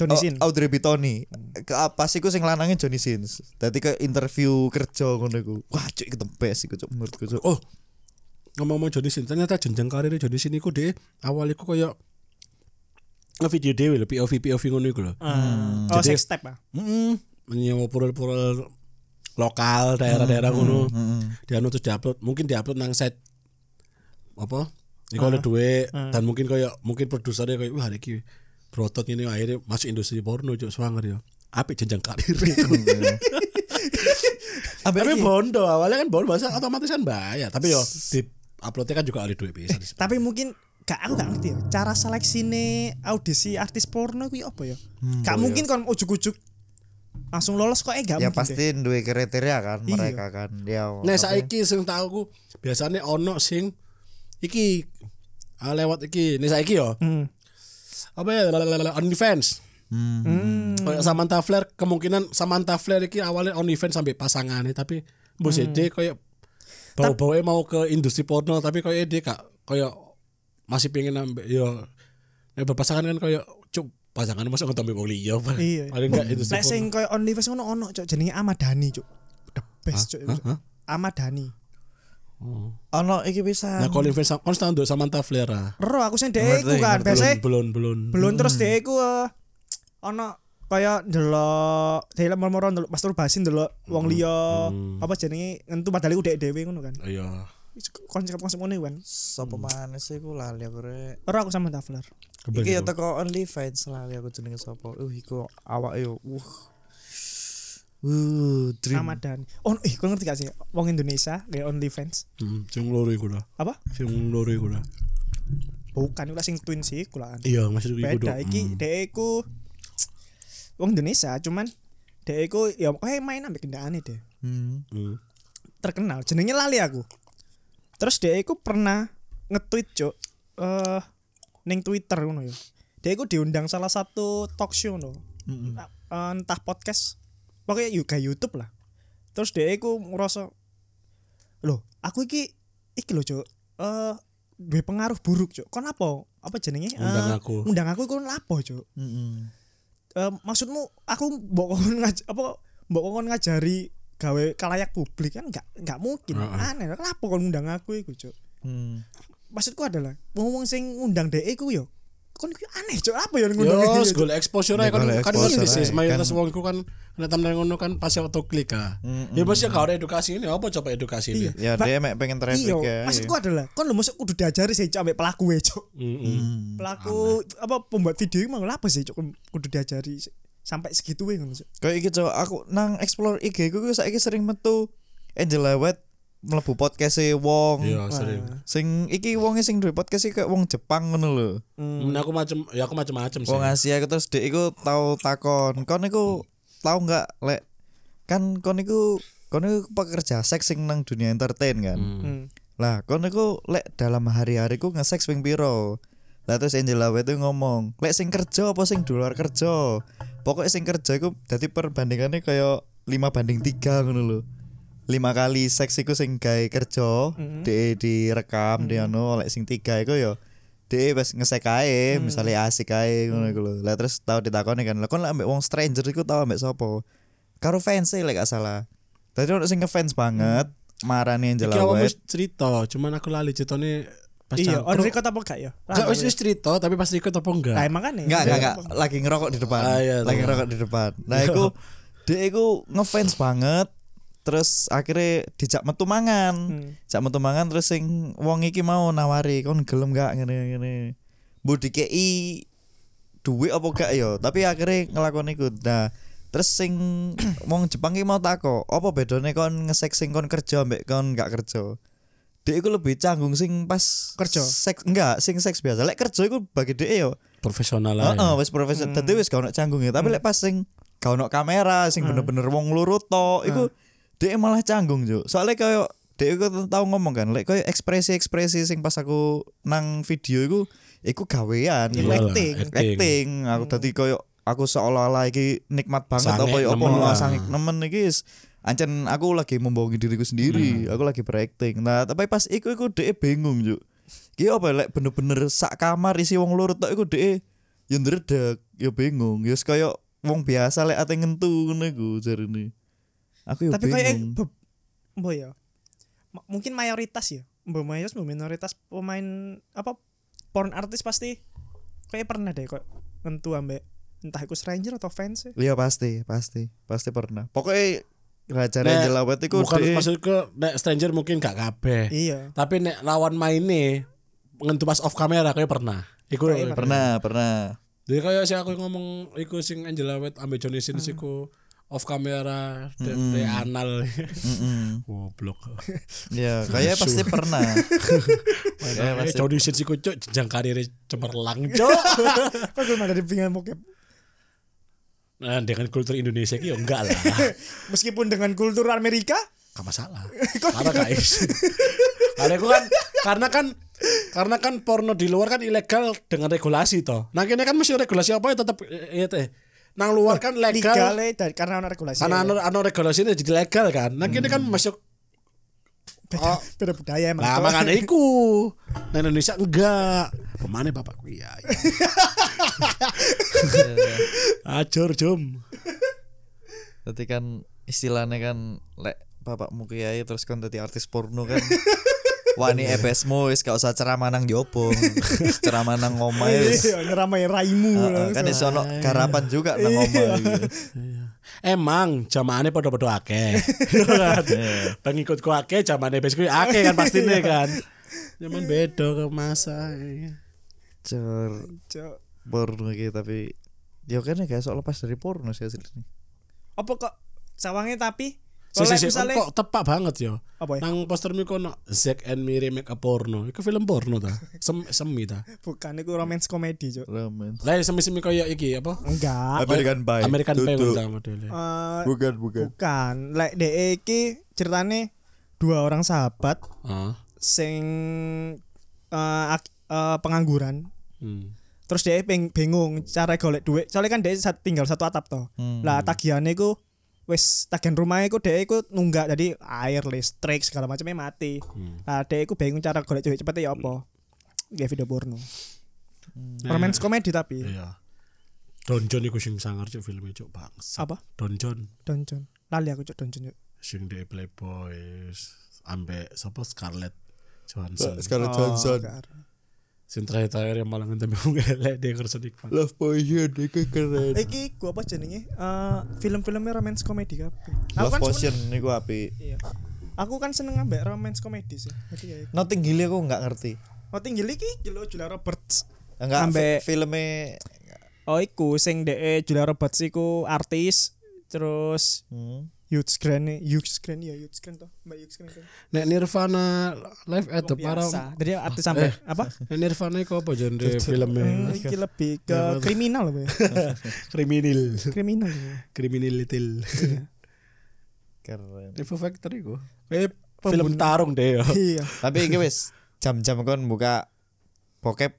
B: Johnny
A: Oh,
B: Sin.
A: Audrey Bitoni. Ke pas iku sing lanangnya Johnny Sins. Dadi ke interview kerja ngono iku. Wah, cuk iku the best iku cuk menurutku cuk.
C: Oh, ngomong mau Johnny Sin ternyata jenjang karir Johnny Sin iku deh awal iku koyo video dewe lho POV POV ngono iku lho.
A: Hmm.
B: Ah, oh, six step ah.
C: Heeh. Menyewa purul-purul lokal daerah-daerah ngono. Dia anu terus diupload, mungkin diupload nang site apa? Iku oleh duit dan mungkin koyo mungkin produsernya koyo wah iki berotot ini akhirnya masuk industri porno cuk swanger ya. Apik jenjang karir iku.
A: Ambek
C: Tapi
A: iki.
C: bondo awalnya kan bondo masa otomatis kan bayar. Tapi yo di uploadnya kan juga ada duit bisa.
B: Tapi mungkin gak aku gak ngerti ya. Cara seleksine audisi artis porno kuwi apa ya?
A: Hmm,
B: gak mungkin kon ujuk-ujuk langsung lolos kok eh gak
A: oh, ya
B: mungkin. deh.
A: pasti duwe kriteria kan mereka kan ya
C: Nah
A: apa-
C: saiki sing tau aku biasanya ono sing iki ah, lewat iki. Nih saiki yo
B: Hmm.
C: apa ya lalalala, OnlyFans. Hmm. Kayak Samantha Flair kemungkinan Samantha Flair iki awalnya OnlyFans sampai pasangannya tapi
B: Hmm.
C: bos dia kayak bau-bau mau ke industri porno tapi kayak dia kak kayak masih pengen nambah yo nek berpasangan kan kayak cuk pasangan masuk ngetombe wong liya
B: Iya.
C: paling enggak industri
B: Lek sing koyo OnlyFans ngono ono cok jenenge Ahmad Dhani cok. The best cok. Ahmad Dhani.
A: ono iki bisa
C: Nah, Colin Firth sama- kan setahun dulu Samantha Flair ah.
B: Ero aku sing dhek iku
A: Ngerti,
B: kan biasa
C: belum belum.
B: belum terus
A: Hmm.
B: dhek iku eh, ono kaya ndelok dhek moro-moro ndelok masturbasi ndelok wong
A: Hmm.
B: liya
C: Hmm.
B: apa jenenge ngentu padahal iku dhek dhewe ngono kan.
C: Iya.
B: Konsep-konsep ngono iku kan.
A: sapa maneh sih ku lali aku rek
B: Ero aku sama Tafler.
A: Iki ya teko OnlyFans lali aku jenenge sapa. Uh iku awake yo. Uh. Uh, dream.
B: Ahmad Dhani. Oh, eh, kau ngerti gak sih? Wong Indonesia kayak OnlyFans.
C: Hmm, sing loro iku lah.
B: Apa?
C: Sing loro iku lah.
B: Bukan, ulah sing twin sih, kulaan.
C: Iya, maksud iku
B: Beda,
C: dong. Hmm.
B: iki deku Wong Indonesia, cuman deku ya eh main ambek kendaraannya deh.
A: Hmm.
C: Hmm.
B: Terkenal, jenenge lali aku. Terus deku pernah nge-tweet, Cuk. Eh, ning Twitter ngono ya. Deku diundang salah satu talk show no. Eh, entah podcast, pokoknya juga YouTube lah. Terus deku ngerasa loh aku iki iki loh cok eh duwe pengaruh buruk cok kon apa apa jenenge Eh,
C: Undang aku.
B: undang aku kon lapo cok
A: Mm-mm.
B: Eh, maksudmu aku mbok kon ngaj apa mbok kon ngajari gawe kalayak publik kan nggak nggak mungkin
C: Heeh.
B: aneh lapo kon undang aku iku cok
A: Hmm.
B: maksudku adalah ngomong sing ngundang dhek iku yo kon iku aneh cok apa yo
C: Yo,
B: ngundang iki, Cuk?
C: golek Iya, exposure ae kan
A: Golek
C: kan
A: Iya, exposure
C: bisnis
A: ae,
C: mayoritas
A: kan.
C: wong iku kan nek tamen ngono kan pasti auto klik ah.
A: Hmm,
C: Ya pasti gak ada edukasi ini apa coba edukasi ini. Hmm,
B: Iya.
A: Ya
B: Ba-
A: dia mek pengen traffic
B: Iya,
A: ya.
B: maksudku adalah kon lu masuk kudu diajari sih cok ambek pelaku e cok.
C: hmm.
A: Hmm,
C: Heeh.
B: Pelaku apa pembuat video ini mau apa sih cok kudu diajari sih. sampai segitu wae ngono cok.
A: Kayak iki cok aku nang explore IG ku ku saiki sering metu Angela White mlebu podcast e wong.
C: Iya, sering.
A: Sing iki wonge sing duwe podcast iki kayak wong Jepang ngono lho.
C: Hmm, aku macam ya Hmm. aku macam-macam sih.
A: Wong Asia iku terus dek iku tau takon, kon iku tau nggak lek kan kon iku kon iku pekerja seks sing nang dunia entertain kan.
B: Hmm.
A: Lah, kon iku lek dalam hari-hari ku nge-seks ping piro? Lah terus Angela White itu ngomong, lek sing kerja apa sing di luar kerja? Pokoknya sing kerja iku dadi perbandingannya kayak 5 banding 3 ngono lho. 5 kali seks iku sing gawe kerja, dhek direkam di anu lek sing 3 iku ya dhek wis ngesek ae, misale asik ae ngono iku lho. Lah terus tau ditakoni kan, lek kon lek ambek wong stranger iku tau ambek sapa? Karo fans e lek gak salah. Tadi ono sing ngefans banget, marani
C: Iki
A: Angela
C: awakmu
A: White.
C: wis cerita, cuman aku lali ceritane pas
B: Iya, on
C: campur.
B: record apa gak ya?
C: Gak wis wis cerita tapi pas ikut apa enggak?
B: Lah emang kan ya.
A: Enggak, enggak, enggak. Lagi ngerokok di depan.
C: Iya. Ah, iya,
A: Lagi
C: tahu.
A: ngerokok di depan. Nah, iku dia iku ngefans banget. Terus akhirnya dijak metu mangan.
C: Hmm.
B: Hmm.
A: Jak metu mangan terus sing wong iki mau nawari, kon gelem gak ngene ngene. Mbok dikeki duit apa gak ya? Tapi akhirnya ngelakoni iku. Nah, terus sing wong Jepang iki mau tako, apa bedone kon ngesek sing kon kerja mbek kon gak kerja? Dia iku lebih canggung sing pas
B: Kerja?
A: Seks enggak, sing seks biasa. Lek kerja iku bagi dia ya, yo
C: Profesional aja.
A: Heeh, wis profesional. Dadi wis gak ono canggungnya, tapi lek pas sing gak ono kamera, sing bener-bener wong lurut tok, iku dhek malah canggung, Juk. Soale koyo dhek iku tau ngomong kan, lek koyo ekspresi-ekspresi sing pas aku nang video iku iku gawean,
B: Iku
A: iku
C: Iyalah,
B: acting.
A: acting. Aku dadi koyo aku seolah-olah iki nikmat banget
C: Sangek
A: apa ya apa
C: nemen lah.
A: sangek nemen iki wis ancen aku lagi membohongi diriku sendiri,
C: Hmm.
A: aku lagi berakting. Nah, tapi pas iku iku dhek bingung, Juk. Ki apa lek bener-bener sak kamar isi wong loro tok iku dhek ya ndredeg, ya bingung, ya wis kaya wong biasa lek ate ngentu ngene iku jarine. Aku ya
B: Tapi kayak eh,
A: bingung.
B: be- mbo ya. Ma- mungkin mayoritas ya. mbok mayoritas mbok minoritas pemain apa porn artis pasti kayak pernah deh kok ngentu ambek entah iku Ranger atau fans ya.
A: Iya pasti, pasti, pasti pernah. Pokoknya Raja
C: Nek,
A: Raja Lawet itu
C: bukan
A: dek-
C: maksudku nek stranger mungkin gak kabeh
B: Iya.
C: tapi nek lawan maine ngentu pas off camera kayak pernah iku
B: Kayak
A: iya, pernah, pernah.
C: jadi kayak sih aku ngomong iku sing Angela White ambil Johnny Sins iku off camera de, de anal
A: Mm. Mm-mm.
C: goblok
A: Iya, kayaknya pasti pernah. Kayaknya
C: Eh,
A: Ya, pasti.
C: Johnny Sins iku cuk jenjang karirnya cemerlang cuk
B: Kok gue malah di pinggang mokep.
C: nah dengan kultur Indonesia iki yo enggak lah
B: Meskipun dengan kultur Amerika,
C: gak masalah karena guys karena aku kan karena kan karena kan porno di luar kan ilegal dengan regulasi toh nah kini kan mesti regulasi apa ya tetap ya teh nang luar kan
B: legal
C: legal
B: eh, dari- karena ana regulasi. ya.
C: karena anu anu regulasi ini jadi legal kan nah kini kan masuk
B: beda, beda budaya emang.
C: lah
B: Cok.
C: Nah, makanya iku nah Indonesia enggak pemane bapakku iya iya. ajur jom
A: Tadi kan istilahnya kan lek bapakmu kiai terus kan tadi artis porno kan. Wani EPSmu wis gak usah ceramah nang jopo. ceramah nang omah wis.
B: Iya, nyeramai raimu.
A: Heeh, Kan iso ono garapan juga nang omah. gitu.
C: Emang jamaane padha-padha akeh. Iya kan? Bang ikutku akeh, jamaane besku akeh kan pastine kan. Zaman beda ke masa. iya.
A: Cer
B: Cok.
A: porno iki tapi ya kan gak iso lepas dari porno sih asline.
B: Apa kok sawangnya tapi
C: Sik
B: Kalau
C: sik sik
B: misalnya
C: kok tepak banget yo.
B: apa ya?
C: Nang postermu kono Zack and Miri make a porno. Iku film porno ta. Sem semi ta.
B: Bukan itu romance komedi, Cok.
A: Ramen.
C: Lah semi-semi koyo iki apa?
B: Enggak.
A: American Pie.
C: Oh, American Pie
A: Duduk.
C: ta modele.
B: Eh,
A: Bukan, bukan.
B: bukan. Lek DE iki ceritane dua orang sahabat
C: Ah.
B: sing eh, ak- eh, pengangguran
C: Hmm.
B: terus dia ping- bingung cara golek duit soalnya kan dia sat- tinggal satu atap toh
A: Hmm.
B: lah tagihannya ku wis tagihan rumahnya ku dia ku nunggak jadi air listrik segala macamnya mati lah dia ku bingung cara golek duit cepetnya ya apa ya video porno romance komedi tapi
C: Iya. Don John iku sing sangar cuk filmnya cuk bangsa.
B: apa
C: Don John
B: donjon lali aku cok donjon cok
C: sing di Playboy ambek sapa Scarlett Johansson.
A: Scarlett
B: Oh,
A: Johansson.
B: gak ada.
C: sing terakhir-terakhir yang malah ngentemi wong elek dia kerja nikmat.
A: Love Potion iki keren.
B: Iki gua apa jenenge? Eh film-filmnya romance komedi kabeh. Aku
A: Love
B: kan
A: Potion niku api.
B: Iya. Aku kan seneng ambek romance komedi sih. Jadi ya.
A: Nothing Hill aku nggak ngerti.
B: Oh tinggi iki Julia Julia Roberts.
A: Enggak
B: Ambek-
A: fi- filmnya
B: Oh iku sing dek Julia Roberts iku artis terus
A: hmm.
B: Hughes Grant Hughes Grant ya Hughes Grant toh Mbak Hughes Grant kan.
C: Nek Nirvana live at Eh, the para
B: biasa jadi artis sampai apa
C: Nek Nirvana iku apa genre filmnya?
B: Hmm, iki lebih ke kriminal loh
C: Kriminal,
B: kriminal ya.
C: kriminal little.
A: keren.
C: Info Factory iku. Kayak film tarung deh ya.
B: iya
A: Tapi iki wis jam-jam kon buka bokep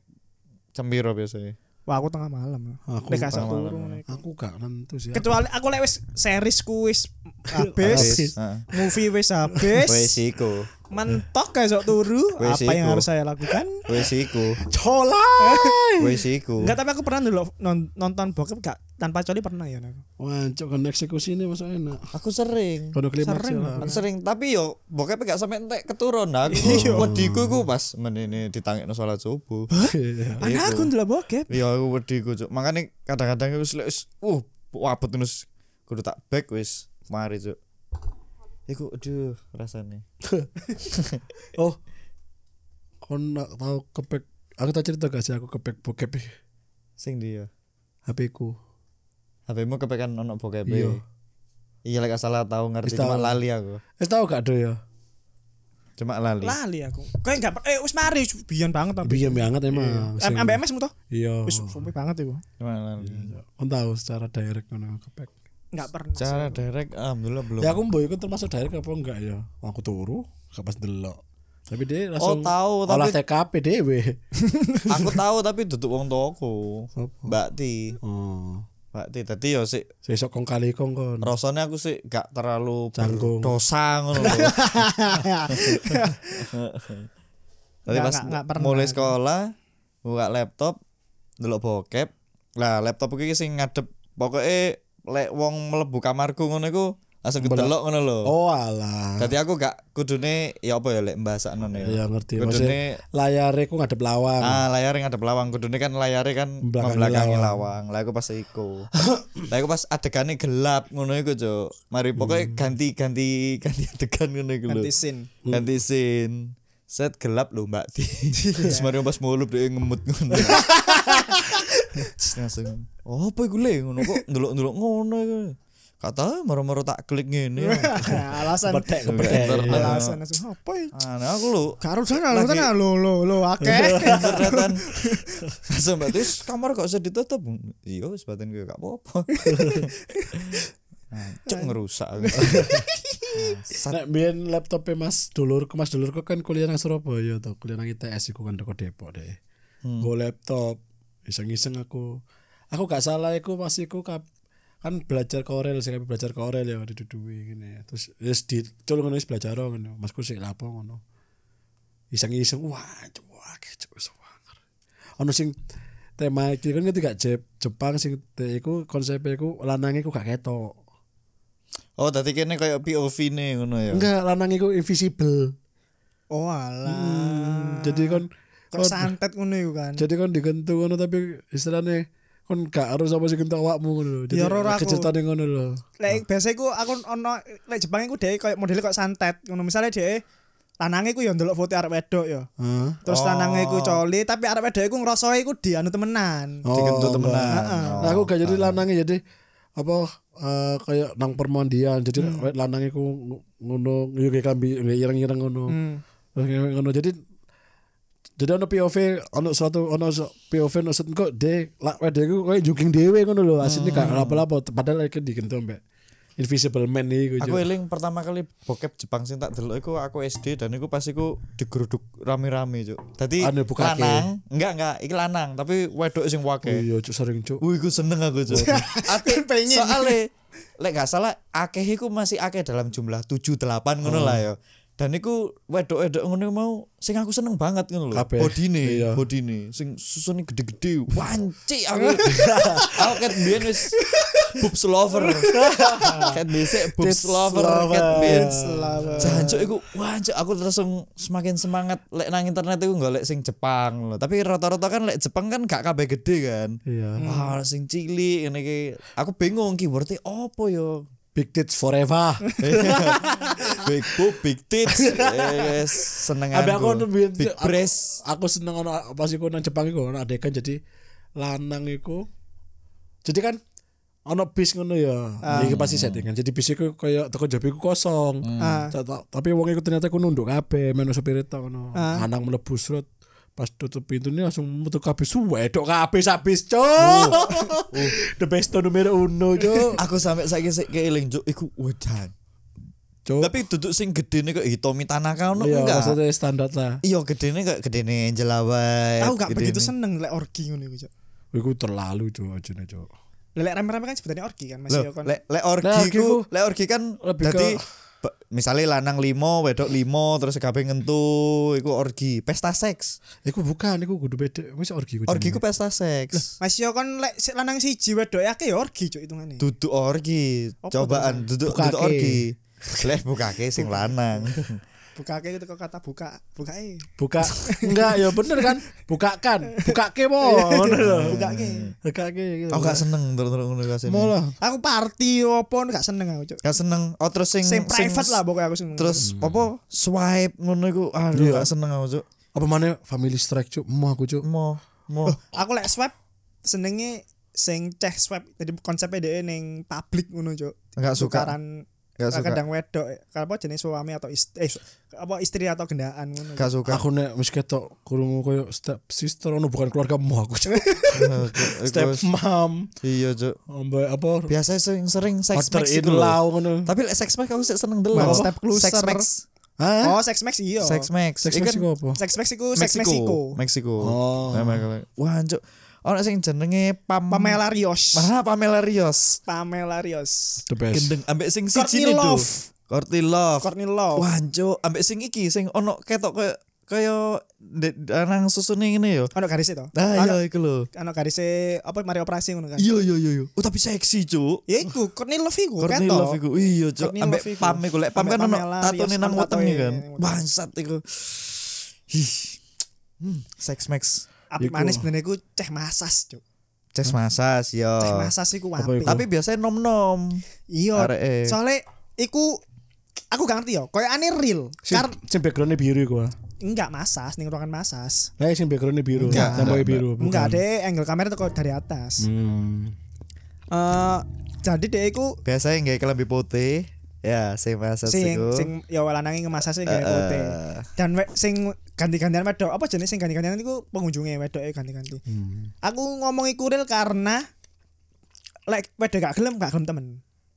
A: cembiro biasanya.
B: wah aku tengah malam
C: Aku
B: aku gak
A: tengah malam,
B: turun nek.
C: Aku gak nentu sih.
B: kecuali aku lek wis series ku wis habis
A: Heeh.
B: movie wis
A: Wis
B: habis
A: iku.
B: mentok kayak sok turu
A: Wes
B: apa yang
A: iku.
B: harus saya lakukan
A: Wis iku.
C: Colai.
A: Wis iku.
B: Enggak tapi aku pernah dulu non- nonton bokep gak tanpa coli pernah ya aku.
C: Wah, cok kan eksekusi ini masuk enak.
A: Aku sering.
C: Kono klimaks
B: Sering
C: ya.
A: Aku sering tapi yo bokep gak sampe entek keturun aku. Wediku iku pas menene ditangekno salat subuh.
C: Iya.
B: Anak aku dulu bokep.
A: Iya aku wedi iku cuk. Makane kadang-kadang wis lek wis uh wabut terus kudu tak back wis mari cuk. Iku aduh rasane.
C: Oh. Kon nak tahu kepek Aku tak cerita gak sih aku kepek bokep
A: Sing dia.
C: HP ku.
A: HP-mu kepekan ono bokep. e?
C: Iya.
A: Iya lek gak salah tahu ngerti
C: Wis
A: cuma
C: tahu.
A: lali aku.
C: Eh tahu gak do ya?
A: Cuma lali.
B: Lali aku. Kayak enggak per- eh wis mari biyen banget tapi.
C: Biar banget Iya, emang.
B: Am- Ambek MS mu toh?
C: Iya.
B: Wis sumpah banget iku.
A: Cuma lali.
C: Kon tahu secara direct ngono kepek.
B: Enggak pernah.
A: Cara direct alhamdulillah belum.
C: Ya aku mbok iku termasuk direct apa enggak ya? Aku turu, gak pas delok. Tapi
B: Oh,
C: dia langsung
A: tahu, tapi-
C: olah TKP dhewe.
A: aku tahu tapi duduk wong tuaku.
C: Apa?
A: Mbak Ti.
C: Oh.
A: Mbak Ti tadi yo sik
C: Sesok kong kali kong kon.
A: rasanya aku sih gak terlalu
C: Canggung.
A: dosa ngono lho. Tadi
B: Nggak,
A: pas
B: nggak, nggak pernah
A: mulai
B: aku.
A: sekolah buka laptop ndelok bokep. Lah laptop iki sing ngadep pokoke lek wong mlebu kamarku ngono iku langsung kedelok ngono lho.
C: Oh alah.
A: Hmm. Dadi aku gak kudune ya apa ya lek mbasakno
C: Ya
A: ya.
C: ngerti
A: Kudune
C: maksudnya layare ku ngadep lawang.
A: ah layar yang ada pelawang kudune kan layare kan
C: Membelakangi
A: membelakangi lawang. Lah aku pas iku. Lah aku pas adegane gelap ngono iku, Cuk.
C: Hmm.
A: Mari pokoknya ganti-ganti ganti adegan ngono iku lho.
B: Ganti scene.
A: Ganti scene. Set gelap lho Mbak Ti. Terus mari pas mulup dia ngemut ngono. Terus langsung oh apa iku le ngono kok ndelok-ndelok ngono iku. Kata "Ah, moro-moro tak klik ngene.
B: alasan
C: Kepetek, kepetek.
B: alasan langsung apa ya?
A: Ah, Nah, aku lho
B: Karo sana lo sana lo lo lo akeh.
A: Internetan. Langsung mbak terus kamar kok usah ditutup. Iya wis batin gue gak apa-apa. Cuk ngerusak.
C: Nek biyen laptopnya Mas Dulurku, Mas Dulurku kan kuliah nang Surabaya to, kuliah nang ITS iku kan teko Depok deh. Go laptop, iseng-iseng aku. Aku gak salah iku pas iku kap- kan belajar Corel, sing kami belajar Corel ya diduduwi ngene. Terus wis dicul ngono wis belajar ngono. Masku sik lapo ngono. Iseng-iseng wah, cuk, wah, cuk, wis wanger. Ono sing tema iki kan ngerti gak Jep- Jepang sing te- iku konsepnya iku lanang iku gak ketok.
A: Oh, tadi kene kayak POV nih ngono ya.
C: Enggak, lanang iku invisible.
B: Oh alah.
C: Ah, jadi kon
B: Kok santet ngono iku kan.
C: jadi kon digentu ngono tapi istilahnya kon gak harus apa sih gentu awakmu ngono lho. Jadi
B: Ya, Ror, aku-
C: keceritane ngono lho.
B: Lek biasa iku aku ono lek Jepang iku dhek koyo modele koyo santet ngono. Misale dhek lanange iku yo ndelok foto arep wedok yo.
C: Heeh.
B: Terus lanange iku coli tapi arep wedok iku ngrasoi iku dianu temenan.
C: Oh.
A: Digentu temenan. Oh,
C: Nah, aku gak jadi lanangnya jadi apa eh, kayak nang permandian jadi
A: Hmm.
C: lanangnya lanang iku ng- ngono yo kayak kambi kayak ireng-ireng ngono.
A: Hmm.
C: Terus kayak ngono jadi jadi ono POV ono suatu ono su- POV ono suatu kok de lak wedhe iku kayak juking dhewe ngono lho asline
A: Hmm.
C: gak apa-apa padahal iki digentu ambek invisible man iki
A: Aku eling pertama kali bokep Jepang sing tak delok iku aku SD dan iku pas iku digeruduk rame-rame, Cuk. Dadi
C: Anu, Ah, bukake.
A: lanang, enggak enggak, iki lanang, tapi wedok sing wake.
C: Oh, Iya, cuk sering cuk.
A: Wih, iku seneng aku Cuk. Ake
B: Pengen.
A: soalnya lek gak salah akeh iku masih akeh dalam jumlah 7 8
C: Oh.
A: ngono lah ya. Dan iku wedok-wedok ngono mau sing aku seneng banget ngono lho.
C: Kabeh.
A: Bodine,
C: Iya.
A: bodine sing susune gede-gede. Wanci aku. aku ket biyen wis boobs lover. ket dhisik boobs
C: Tits
A: lover
C: lover.
A: ket biyen.
C: Tits
B: lover.
A: Jancuk iku wancuk aku langsung semakin semangat lek nang internet iku golek sing Jepang lho. Tapi rata-rata kan lek Jepang kan gak kabeh gede kan.
C: Iya.
A: Wah, sing cilik ngene iki. Aku bingung keywordnya opo yo.
C: Big tits forever.
A: big boob, big tits. Yes, seneng
C: Abi aku tuh biyen-
A: big
C: aku-
A: breast.
C: Aku seneng ono pas iku nang Jepang iku ono adegan jadi lanang iku. Jadi kan ono bis ngono ya.
A: Ah.
C: Iki pasti settingan. Jadi bis iku koyo teko job iku kosong.
B: Ah.
A: Hmm.
C: Ta- ta- Tapi wong iku ternyata iku nunduk kabeh menu supir itu ngono.
A: Ah.
C: Lanang mlebu surut pas tutup pintunya langsung metu kabeh suwedok kabeh sabis cok.
A: Uh.
C: The best numero uno cok.
A: Aku sampe saiki sik keeling juk iku wedan.
C: Cok.
A: Tapi duduk sing gedene kok Hitomi Tanaka ono
C: Oh. Iya,
A: enggak?
C: maksudnya standar lah.
A: Iya gedene kok gedene Angela White.
B: Aku gak begitu
A: seneng.
B: seneng lek orgi ngono iku, Cuk.
C: Iku terlalu cok ajene cok.
B: Lah, Lek rame-rame kan sebutannya orgi kan masih yo
A: Lek
B: kon.
A: lek
C: Lek
A: orgi
C: orgi
A: ku,
C: ku
A: lek orgi kan
C: lebih
A: dadi
C: ke-
A: ba- misalnya lanang limo, wedok limo, terus kabeh ngentu, iku orgi, pesta seks.
C: Iku bukan, iku kudu beda. Wis orgi kudu.
A: Orgi ku pesta seks.
B: Masih yo kon lek si- lanang siji wedok akeh yo orgi cuk hitungane.
A: duduk orgi cobaan duduk
C: Bukake.
A: duduk orgi leh bukake sing lanang
B: Bukake itu kok kata buka, bukae.
C: buka enggak ya bener kan Iya, bukakan bukake mo Oh, ngono lho
B: Bukake.
C: bukake gitu
A: aku gak seneng terus terus ngono kasih
C: malah
B: Aku party opo gak seneng aku cuk.
A: gak seneng oh terus sing
B: Sing private lah pokoknya aku seneng.
A: terus apa swipe ngono iku aduh gak seneng aku cuk
C: apa mana family strike cuk mo aku cuk
A: mo mo
B: aku lek swab senenge sing ceh swab jadi konsepnya dia ning publik ngono cuk.
A: Gak suka.
B: Tukaran gak
A: Gak suka.
B: Kadang wedok apa jenis suami atau istri eh, su- apa istri atau gendaan ngono.
A: gak suka
C: aku nek wis ketok kurungu koyo step sister ono bukan keluarga mo aku cuk
A: Aduh, iku
C: step
A: wis-
C: mom
A: iya cuk
C: ambek apa
A: biasa sering sering sex
C: Order
A: max
C: in
A: itu lho
C: law ngono
A: tapi lek sex max aku sih seneng dulu
B: One step
A: sex
B: closer.
A: max
C: Hah?
B: Oh, sex max iya.
A: sex max
C: Sex
A: Iku
C: max
A: kan-
C: iku apa
B: Sex max iku sex
A: Meksiko
B: Meksiko.
A: Meksiko
C: Oh.
A: Meksiko wah cuk ono sing jenenge pam
B: Nah, Pamela Rios.
A: Maha Pamela Rios
B: Pamela Rios.
C: the best
A: gendeng ambek sing
B: Courtney
A: siji nih do
B: Love.
A: Courtney Love
B: Courtney Love.
A: Wanjo ambek sing iki sing ono ketok kaya kaya de- nang susune ngene yo.
B: Ono garis itu.
A: Ah
B: Ono
A: iya iku lho.
B: ono garise apa mari operasi ngono kan.
A: Iya iya iya iya. Oh tapi seksi, Cuk.
B: Ya iku Cornelov iku kan
A: Cornel
B: to.
A: Love iku. Iya, Cuk.
B: Courtney
A: Ambek
B: Love iku.
A: pam iku lek pam
B: Ambek
A: kan ono
B: Pamela
A: tatone
B: Rios
A: nang
B: nang
A: wetenge
B: wetenge.
A: kan. Bangsat iku. Ih. Hmm, sex max.
B: Apik manis bener iku ceh masas, Cuk.
A: Cek masas yo.
B: Ceh masas iku
C: Apa
B: apik.
C: iku?
A: Tapi biasanya nom-nom.
B: iya,
A: Areke.
B: soalnya iku aku gak ngerti yo. Kayak aneh real.
C: Sing,
B: Kar
C: sing backgroundnya biru gua.
B: enggak masas ning ruangan masas.
C: Eh sing backgroundnya biru.
B: Enggak.
C: Temboknya biru. bukan.
B: Enggak deh, angle kamera tuh kok dari atas. Eh
C: Hmm.
B: jadi deh iku
A: Biasanya nggak kelambi putih. Ya, sing masas
B: sing
A: iku.
B: sing ya lanange ngemasase kayak kote. e Dan we, sing ganti-gantian wedok apa jenis sing ganti-gantian iku pengunjunge wedoke ganti-ganti. Aku ngomong iku real karena lek wedok gak gelem gak gelem temen.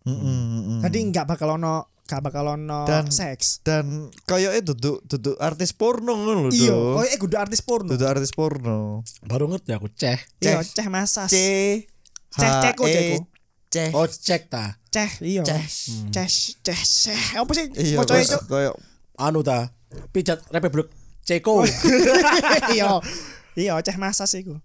A: Mm-mm, mm-mm.
B: Jadi nggak bakal ono gak bakal ono
A: Dan-
B: seks.
A: dan kayaknya duduk duduk artis porno ngono lho.
B: Iya,
A: Dok.
B: koyo eh, kudu artis porno.
A: Duduk artis porno.
C: Baru ngerti aku ceh.
B: Iya, ceh masas.
A: C H
B: Ceh, ceko,
A: E,
B: ceko.
A: Ceh.
C: Oh cek ta.
B: Ceh, iya.
A: Ceh.
B: Ceh, ceh, ceh. Apa sih?
A: Iya,
B: Pocoknya
A: kayak-
B: itu.
A: kayak
C: Anu ta. Pijat Republik Ceko.
B: Iya. Iya, ceh masas iku.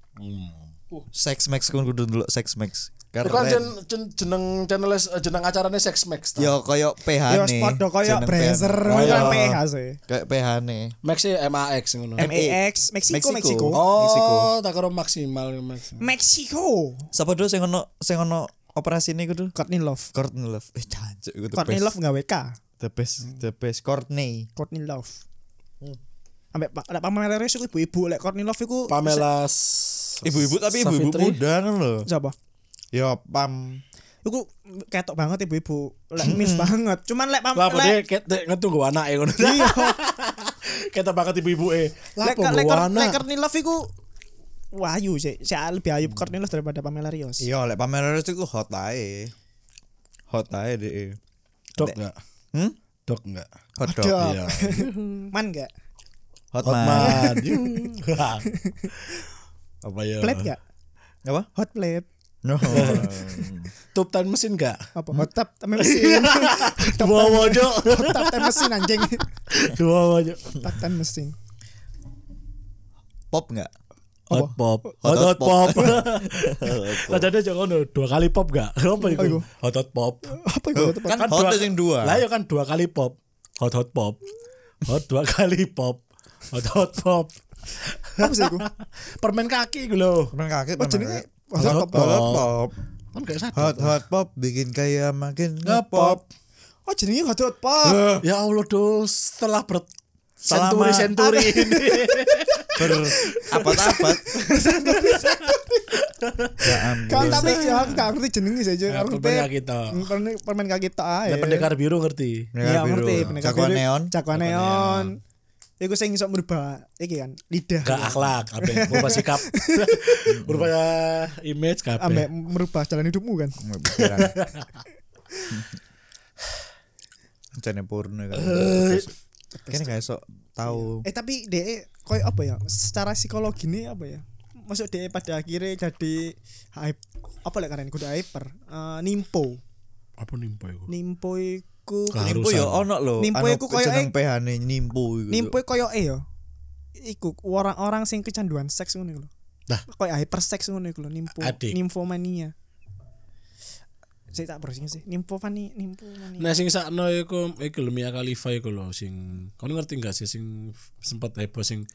A: Sex Max kon kudu ndelok Sex Max.
C: Bukan
A: Karena
C: kan jen, jen, jeneng channel jeneng acaranya Sex Max ta.
A: yo koyo
B: Yo
A: PH ne.
B: spot koyo
A: jeneng
B: brazer
A: PH.
C: Oh, iya.
B: kan PH sih.
A: Kayak PH ne.
C: Max ya MAX ngono.
B: MAX Meksiko
A: Meksiko.
B: Meksiko.
C: Oh, tak karo maksimal Max.
B: Meksiko.
A: Sapa dulu sing ono sing ono operasi ini kudu?
B: Courtney Love.
A: Courtney Love. Eh jancuk iku the
B: Courtney
A: best.
B: Love nggak WK.
A: The best, the best Courtney.
B: Courtney Love. Ambek Pak lek Pamela Reis iku ibu-ibu lek Courtney Love iku
C: Pamela
A: Ibu-ibu tapi ibu-ibu
C: Savitri.
A: muda kan lho.
B: siapa?
A: Yo pam.
B: Iku ketok banget ibu-ibu. Lek miss banget. Cuman lek
C: Lah
B: Pamela
C: pokoknya ket- tek- ngetung gue anak ya ngono. Iya. Kita banget ibu-ibu eh. Lah
B: lek
C: kok
B: lek
C: gue
B: lek
C: anak.
B: Courtney Love iku wah ayu sih. Si lebih ayu Courtney Love daripada Pamela Reis.
A: Yo lek Pamela Reeves iku hot ae. Hot ae deh.
C: Dok enggak?
A: Hmm?
C: Dok enggak?
A: Hot dog.
B: Dok.
C: Iya.
B: Man enggak?
A: Hot, man.
C: Hotman. Apa ya?
B: Plate enggak?
A: Apa?
B: Hot plate.
A: No.
C: Tup tan mesin enggak?
B: Apa hot tub teme mesin.
C: Dua wajok.
B: Hot tub teme mesin anjing.
C: Dua wajok.
B: Hot tub mesin.
A: Pop enggak?
C: Hot pop.
A: Hot
C: Hot hot
A: pop.
C: pop.
A: Kan
C: Lah jadi aja ngono dua kali pop enggak? Apa itu? Hot hot pop.
B: Apa itu
A: Tuh,
B: hot tub?
A: kan
C: Kan
A: hot
C: dua-
A: yang dua.
C: Lah ya kan dua kali pop. Hot hot pop. Hot dua kali pop. Hot hot pop.
B: Apa sih iku?
C: Permen kaki gue loh.
A: Permen kaki
B: Oh
A: permen
B: jenenge
A: kaki.
B: hot
A: hot,
B: tub.
A: pop. hot pop.
C: Kan gak sadar.
A: Hot hot pop bikin kaya makin
C: Ngepop.
A: ngepop.
B: Oh jenenge hot hot pop.
C: Ya Allah dos setelah ber
A: Selama-
C: senturi senturi ini.
A: Ber abad-abad. Ya
B: Kan
A: ampun.
B: tapi ya aku gak ngerti jenenge sih. Jeng.
C: Ya,
B: Aku
C: permen
B: ngerti Hmm,
C: kaki tok.
B: permen permen kaki tok ae.
C: Ya pendekar biru ngerti.
A: Merah
B: Iya
A: biru.
B: ngerti pendekar
A: Jagoan
B: biru.
A: neon.
B: Jagoan neon. Iku sing iso merubah iki kan lidah.
C: Gak akhlak, abe berubah sikap, berubah image
B: Ambek
C: kabeh.
B: merubah jalan hidupmu kan.
A: Pikiran. Jane porno kan. Kene gak iso tahu.
B: Eh tapi DE koyo apa ya? Secara psikologi ini apa ya? Maksud DE pada akhirnya jadi hype apa lek karen kudu hyper. Eh, nimpo.
C: Apa nimpo iku?
B: Nimpo iku
C: Keharusan.
A: Nimpu ya ono lho.
B: Nimpu
A: Anu
B: iku koyo
A: jeneng PH-ne nimpu iku.
B: Nimpo koyo e yo. Iku orang-orang sing kecanduan seks ngono iku lho.
C: Nah.
B: Koyo hyper seks ngono iku lho, nimpo
C: Adik.
B: nimfomania. Saya tak browsing sih. Nimfomani, nimfomania.
C: Nah sing sakno iku iku lho Mia Khalifa iku lho sing kon ngerti gak sih sing sempat heboh sing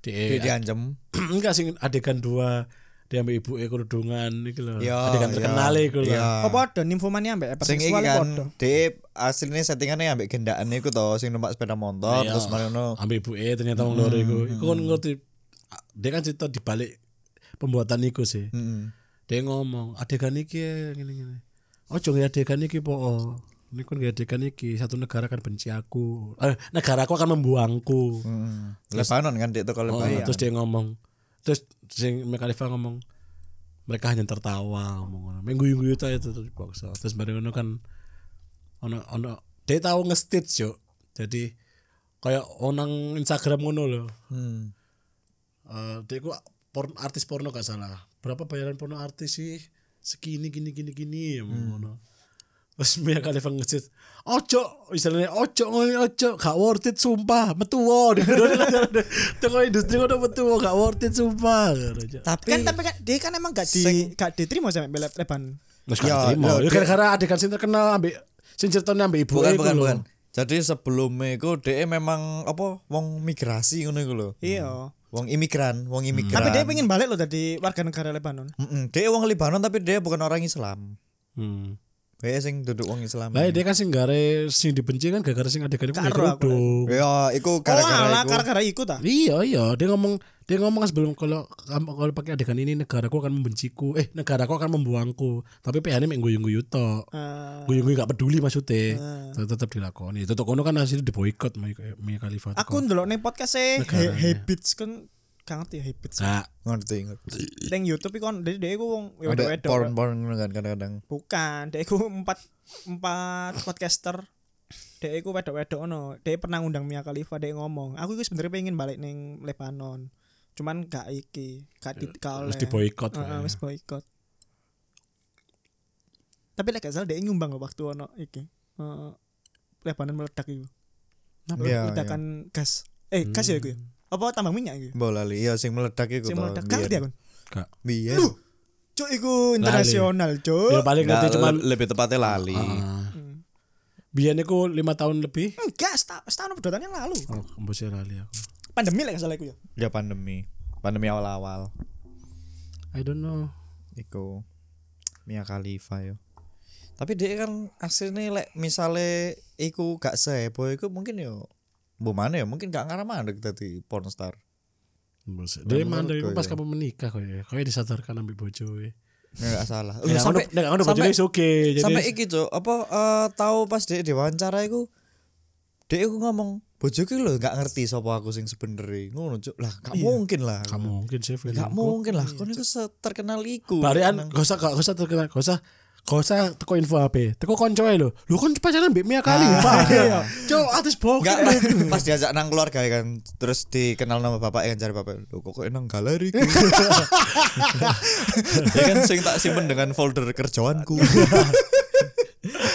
A: Dia
C: di
A: diancem.
C: enggak sing adegan dua dia ambek ibu iku dudungan iku lho.
A: Ya, ya,
C: Adegan Iya. kan terkenal iku lho.
A: ya.
B: Oh padha nimfomania ambek hyper
A: sing iki
B: seksual padha.
A: kan de asline settingannya ambek gendakane iku to sing numpak sepeda motor
C: Iya.
A: terus Hmm. marino
C: ambil ibu E ternyata wong loro iku. Iku kan ngerti dia kan cerita di balik pembuatan iku sih.
A: heeh
C: Dia ngomong adegan iki ya, ngene ngene. Ojo nggih adegan iki po. Ini kan nggih adegan iki satu negara akan benci aku. Eh, negaraku akan
A: Hmm.
C: membuangku.
A: Lebanon kan dek toko
C: Oh,
A: Lebanon
C: terus dia ngomong. Terus sing Mekalifa ngomong mereka hanya tertawa ngomong ngono. Minggu-minggu itu itu terus dipaksa. Terus bareng ngono kan ono ono dia tahu nge-stitch yo. Jadi kayak onang Instagram ngono loh.
A: hmm.
C: eh dia ku porn, artis porno gak salah berapa bayaran porno artis sih segini gini gini gini ya mau ngono Terus Mia Khalifa ngejit Ojo Istilahnya ojo ngomongin ojo Gak worth it sumpah Metuwo Toko industri udah metuwo Gak worth it sumpah
B: Tapi kan tapi kan dia kan emang gak di gak diterima sama Bele- Leban.
C: Terus
A: Ya,
C: gak terima
A: lho,
C: Ya,
A: dia-
C: Gara-gara adegan sing terkenal ambek Sing ceritanya ambek ibu
A: bukan
C: iku
A: bukan
C: lho.
A: bukan jadi sebelumnya iku dia memang apa wong migrasi ngono iku lho
B: Iya.
A: wong imigran wong imigran
B: Tapi dia pengen balik loh dari warga negara Lebanon.
A: Mm-mm. dia wong Libanon tapi dia bukan orang Islam
C: Hmm.
A: dia sing duduk wong Islam
C: Lah dia kan sing gare sing dibenci kan gara-gara sing adegan iku
B: Karo
C: nggak
B: aku
C: kerudung.
A: ya iku
B: Oh
A: gara-gara
B: alah
A: iku
B: gara-gara ikut ah.
C: Iya iya dia ngomong dia ngomong sebelum kalau kamu- kalau pakai adegan ini negaraku akan membenciku eh negaraku akan membuangku tapi PH ini main guyu-guyu tok
B: Eh,
C: guyu-guyu gak peduli maksudnya Tet- tetap dilakoni tetap kono kan hasilnya di boykot Mia Khalifa
B: aku ndelok nih podcast e Habits kan gak ngerti ya Habits.
C: nah,
A: ngerti ngerti
B: Ning YouTube iku kan dia dia iku wong
A: Ah, ada
B: wedok-wedok.
A: porn porn kan kadang-kadang
B: Bukan, dia iku empat empat podcaster. Dia iku wedok-wedok ono. Dia pernah ngundang Mia Khalifa, dia ngomong, "Aku iku sebenarnya pengen balik ning Lebanon." Cuman gak iki, gak di gak oleh."
C: terus
B: Ah,
C: di boykot
B: Heeh, wis boikot. Tapi lek gak salah dia nyumbang loh waktu ono iki. Eh, Lebanon meledak itu.
A: Apa? Iya,
B: Ledakan gas. Eh, gas ya iku. ya? Apa tambang minyak iku?
A: bolali iya sing meledak iku
B: Sing
A: toh,
B: meledak. Gak ngerti
A: biyen.
B: aku.
C: Gak.
A: Biyen.
B: Cuk iku internasional,
C: ya
B: cuk.
C: paling nanti
A: Nggak,
C: cuman
A: le- lebih tepatnya lali
C: ah. biyen iku lima tahun lebih
B: Enggak, seta- Hmm, setahun apa dua tahun yang lalu.
C: oh kembusnya lali aku
B: Pandemi lek gak salah iku ya.
A: ya pandemi pandemi awal-awal
C: I don't know
A: iku Mia Khalifa yo tapi dia kan aslinya lek misale iku gak seheboh iku mungkin yo bu mana ya mungkin gak ngarah mandek tadi pornstar
C: Mbusnya.
A: Menurut
C: dia mandiri
A: gue,
C: pas
A: ya.
C: kamu menikah kok ya kau disadarkan ambil bojoe
A: Ya, gak salah Loh, sampai
C: Nggak Eh, ngono- nggak ngono bojoe
A: sampai,
C: is oke jadi
A: sampai iki cok apa eh, tahu pas dia diwawancara iku dia iku ngomong bojoku lho gak ngerti sapa aku sing sebenernya ngono cok lah gak mungkin lah
C: Iya. Gak mungkin sih
A: gak mungkin lah kon iku terkenal iku
C: Barian gak usah gak usah terkenal, gak usah gak usah teko info HP. Teko koncoe lho. Lu kan pacaran mbek
A: Ah.
C: Mia Khalifa. Iya. Cok artis bokep.
A: Enggak pas, pas diajak nang keluarga ya kan terus dikenal nama bapak kan cari bapak lo kok kok nang galeri ku?" ya kan sing tak simpen dengan folder kerjaanku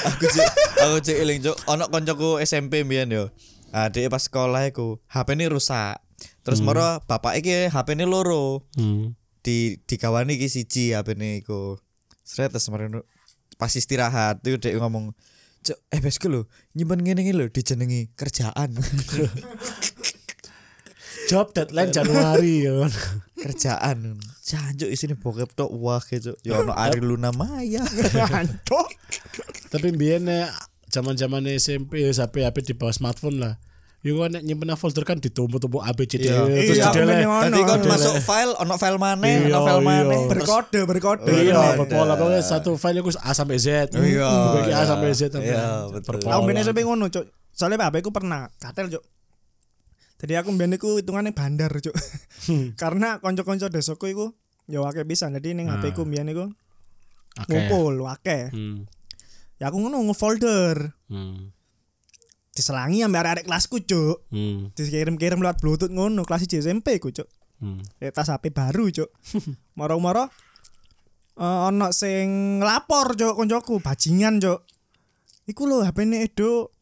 A: aku cek aku cek eling cok ono koncoku SMP mbiyen yo adik pas sekolah iku HP ini rusak terus moro bapak iki HP ini loro
C: Hmm.
A: di dikawani iki siji HP-ne iku. Sret terus kemarin pas istirahat itu dek ngomong Cuk, eh besku lho, nyimpen ngene iki lho dijenengi kerjaan.
C: Job deadline Januari ya. kan.
A: kerjaan. Jancuk isine bokep tok wah gitu. Ya ono Ari Luna Maya.
B: Antok.
C: Tapi mbiyen eh, zaman-zaman SMP ya HP HP di bawah smartphone lah. Yo kan nek nyimpen folder kan ditumpuk-tumpuk ABCD
A: Iya.
C: terus
B: Iya,
C: dideleh.
B: bener.
A: Nanti
B: Ono,
A: kan
B: ada.
A: masuk file ono file maneh, ono
C: Iya,
A: file maneh.
C: iya.
A: Terus-
B: Berkode, berkode.
C: Iya,
A: Bener.
C: berpola pokoknya satu file aku A sampai Z.
A: Iya,
C: Bagi
A: iya.
C: A sampai Z sampai
A: Iya, betul.
B: Aku
C: berpola.
B: mbene sampe ngono, Cuk. Soalnya bapak aku pernah katel, Cuk. Jadi aku mbene iku hitungannya bandar, Cuk. Karena kanca-kanca desaku iku ya akeh pisan. Jadi ning HP ku mbiyen iku
C: Oke.
B: ngumpul akeh.
C: Hmm.
B: Ya aku ngono ngefolder.
C: Hmm.
B: Diselangi ambek arek-arek kelasku, Cuk.
C: Hmm.
B: Dikirim-kirim lewat Bluetooth ngono kelas 1 SMP ku, Cuk.
C: Hmm.
B: Ya Eh, tas HP baru, Cuk. Moro-moro eh, ono sing nglapor, Cuk, koncoku bajingan, Cuk. Iku lho HP-ne Edo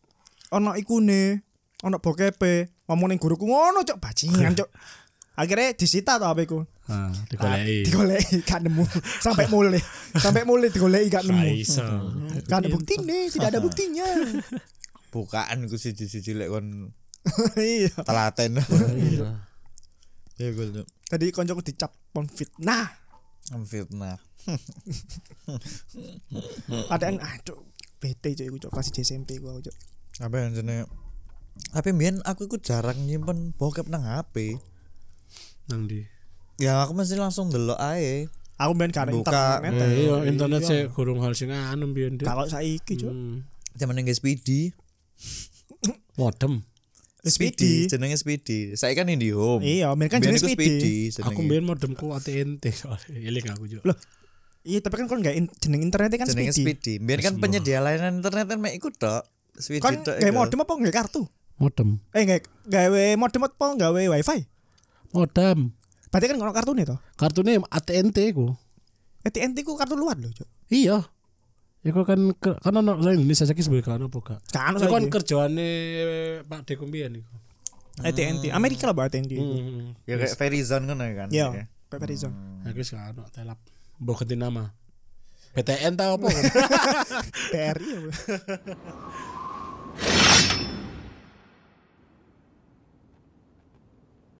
B: ono ikune, ono bokepe. Ngomong ning guruku ngono, Cuk, bajingan, Cuk. Akhirnya disita to HP-ku. Ah,
C: Ah, digoleki.
B: Digoleki gak nemu. Sampai mulai. Sampai mulai digoleki gak
C: Gak
B: nemu.
C: iso.
B: Gak ada buktinya, tidak ada buktinya.
A: Bukaan ku siji-siji lek kon
B: Iya.
A: telaten.
C: Iya.
A: Ya gue tuh.
B: Tadi koncoku dicap fitnah.
A: Fitnah.
B: Padahal aduh "Ah, bete cuy gue kelas SMP gue cok
A: apa yang jenenge tapi mien aku iku jarang nyimpen bokep nang HP
C: Nang di.
A: ya aku mesti langsung delok ae
B: aku main karena
A: Buka.
B: internet
C: Eh, iya, internet sih kurung hal sing anu mbiyen Dik.
B: kalau saya iki cok
C: Hmm.
A: zaman yang speedy
C: Modem.
A: speedy jenenge speedy saya kan IndiHome
B: Iya, mien kan
A: Mien
B: jenenge
A: iku
B: Speedy.
A: jenenge.
C: Aku mbiyen modemku AT&T soalnya. Eling aku juga.
B: Loh, iya tapi kan kon nggak in- jeneng internetnya kan
A: jenenge
B: speedy
A: speedy mien kan penyedia layanan internet kan mek iku tok
B: kon
A: speedy tok
B: gawe
A: iku.
B: Kan modem apa nggak kartu
C: Modem.
B: eh nggak gawe modem apa gawe wifi
C: Modem.
B: berarti kan ngono kartu nih toh
C: Kartunya AT&T ku.
B: AT&T ku kartu luar loh cok
C: Iya. Iku kan ke- kan ono saya Indonesia saiki sebagai kan apa gak?
B: Kan
C: Iku kan kerjaane eh, Pak Dekumbian iku.
B: AT&T Amerika lah bahkan AT&T.
C: Heeh.
A: Ya kayak Verizon kan kan.
B: Ya, kayak Verizon.
C: Aku Nah, wis gak ono telap. Mbok ganti nama. PTN ta apa?
B: BRI ya. Bu.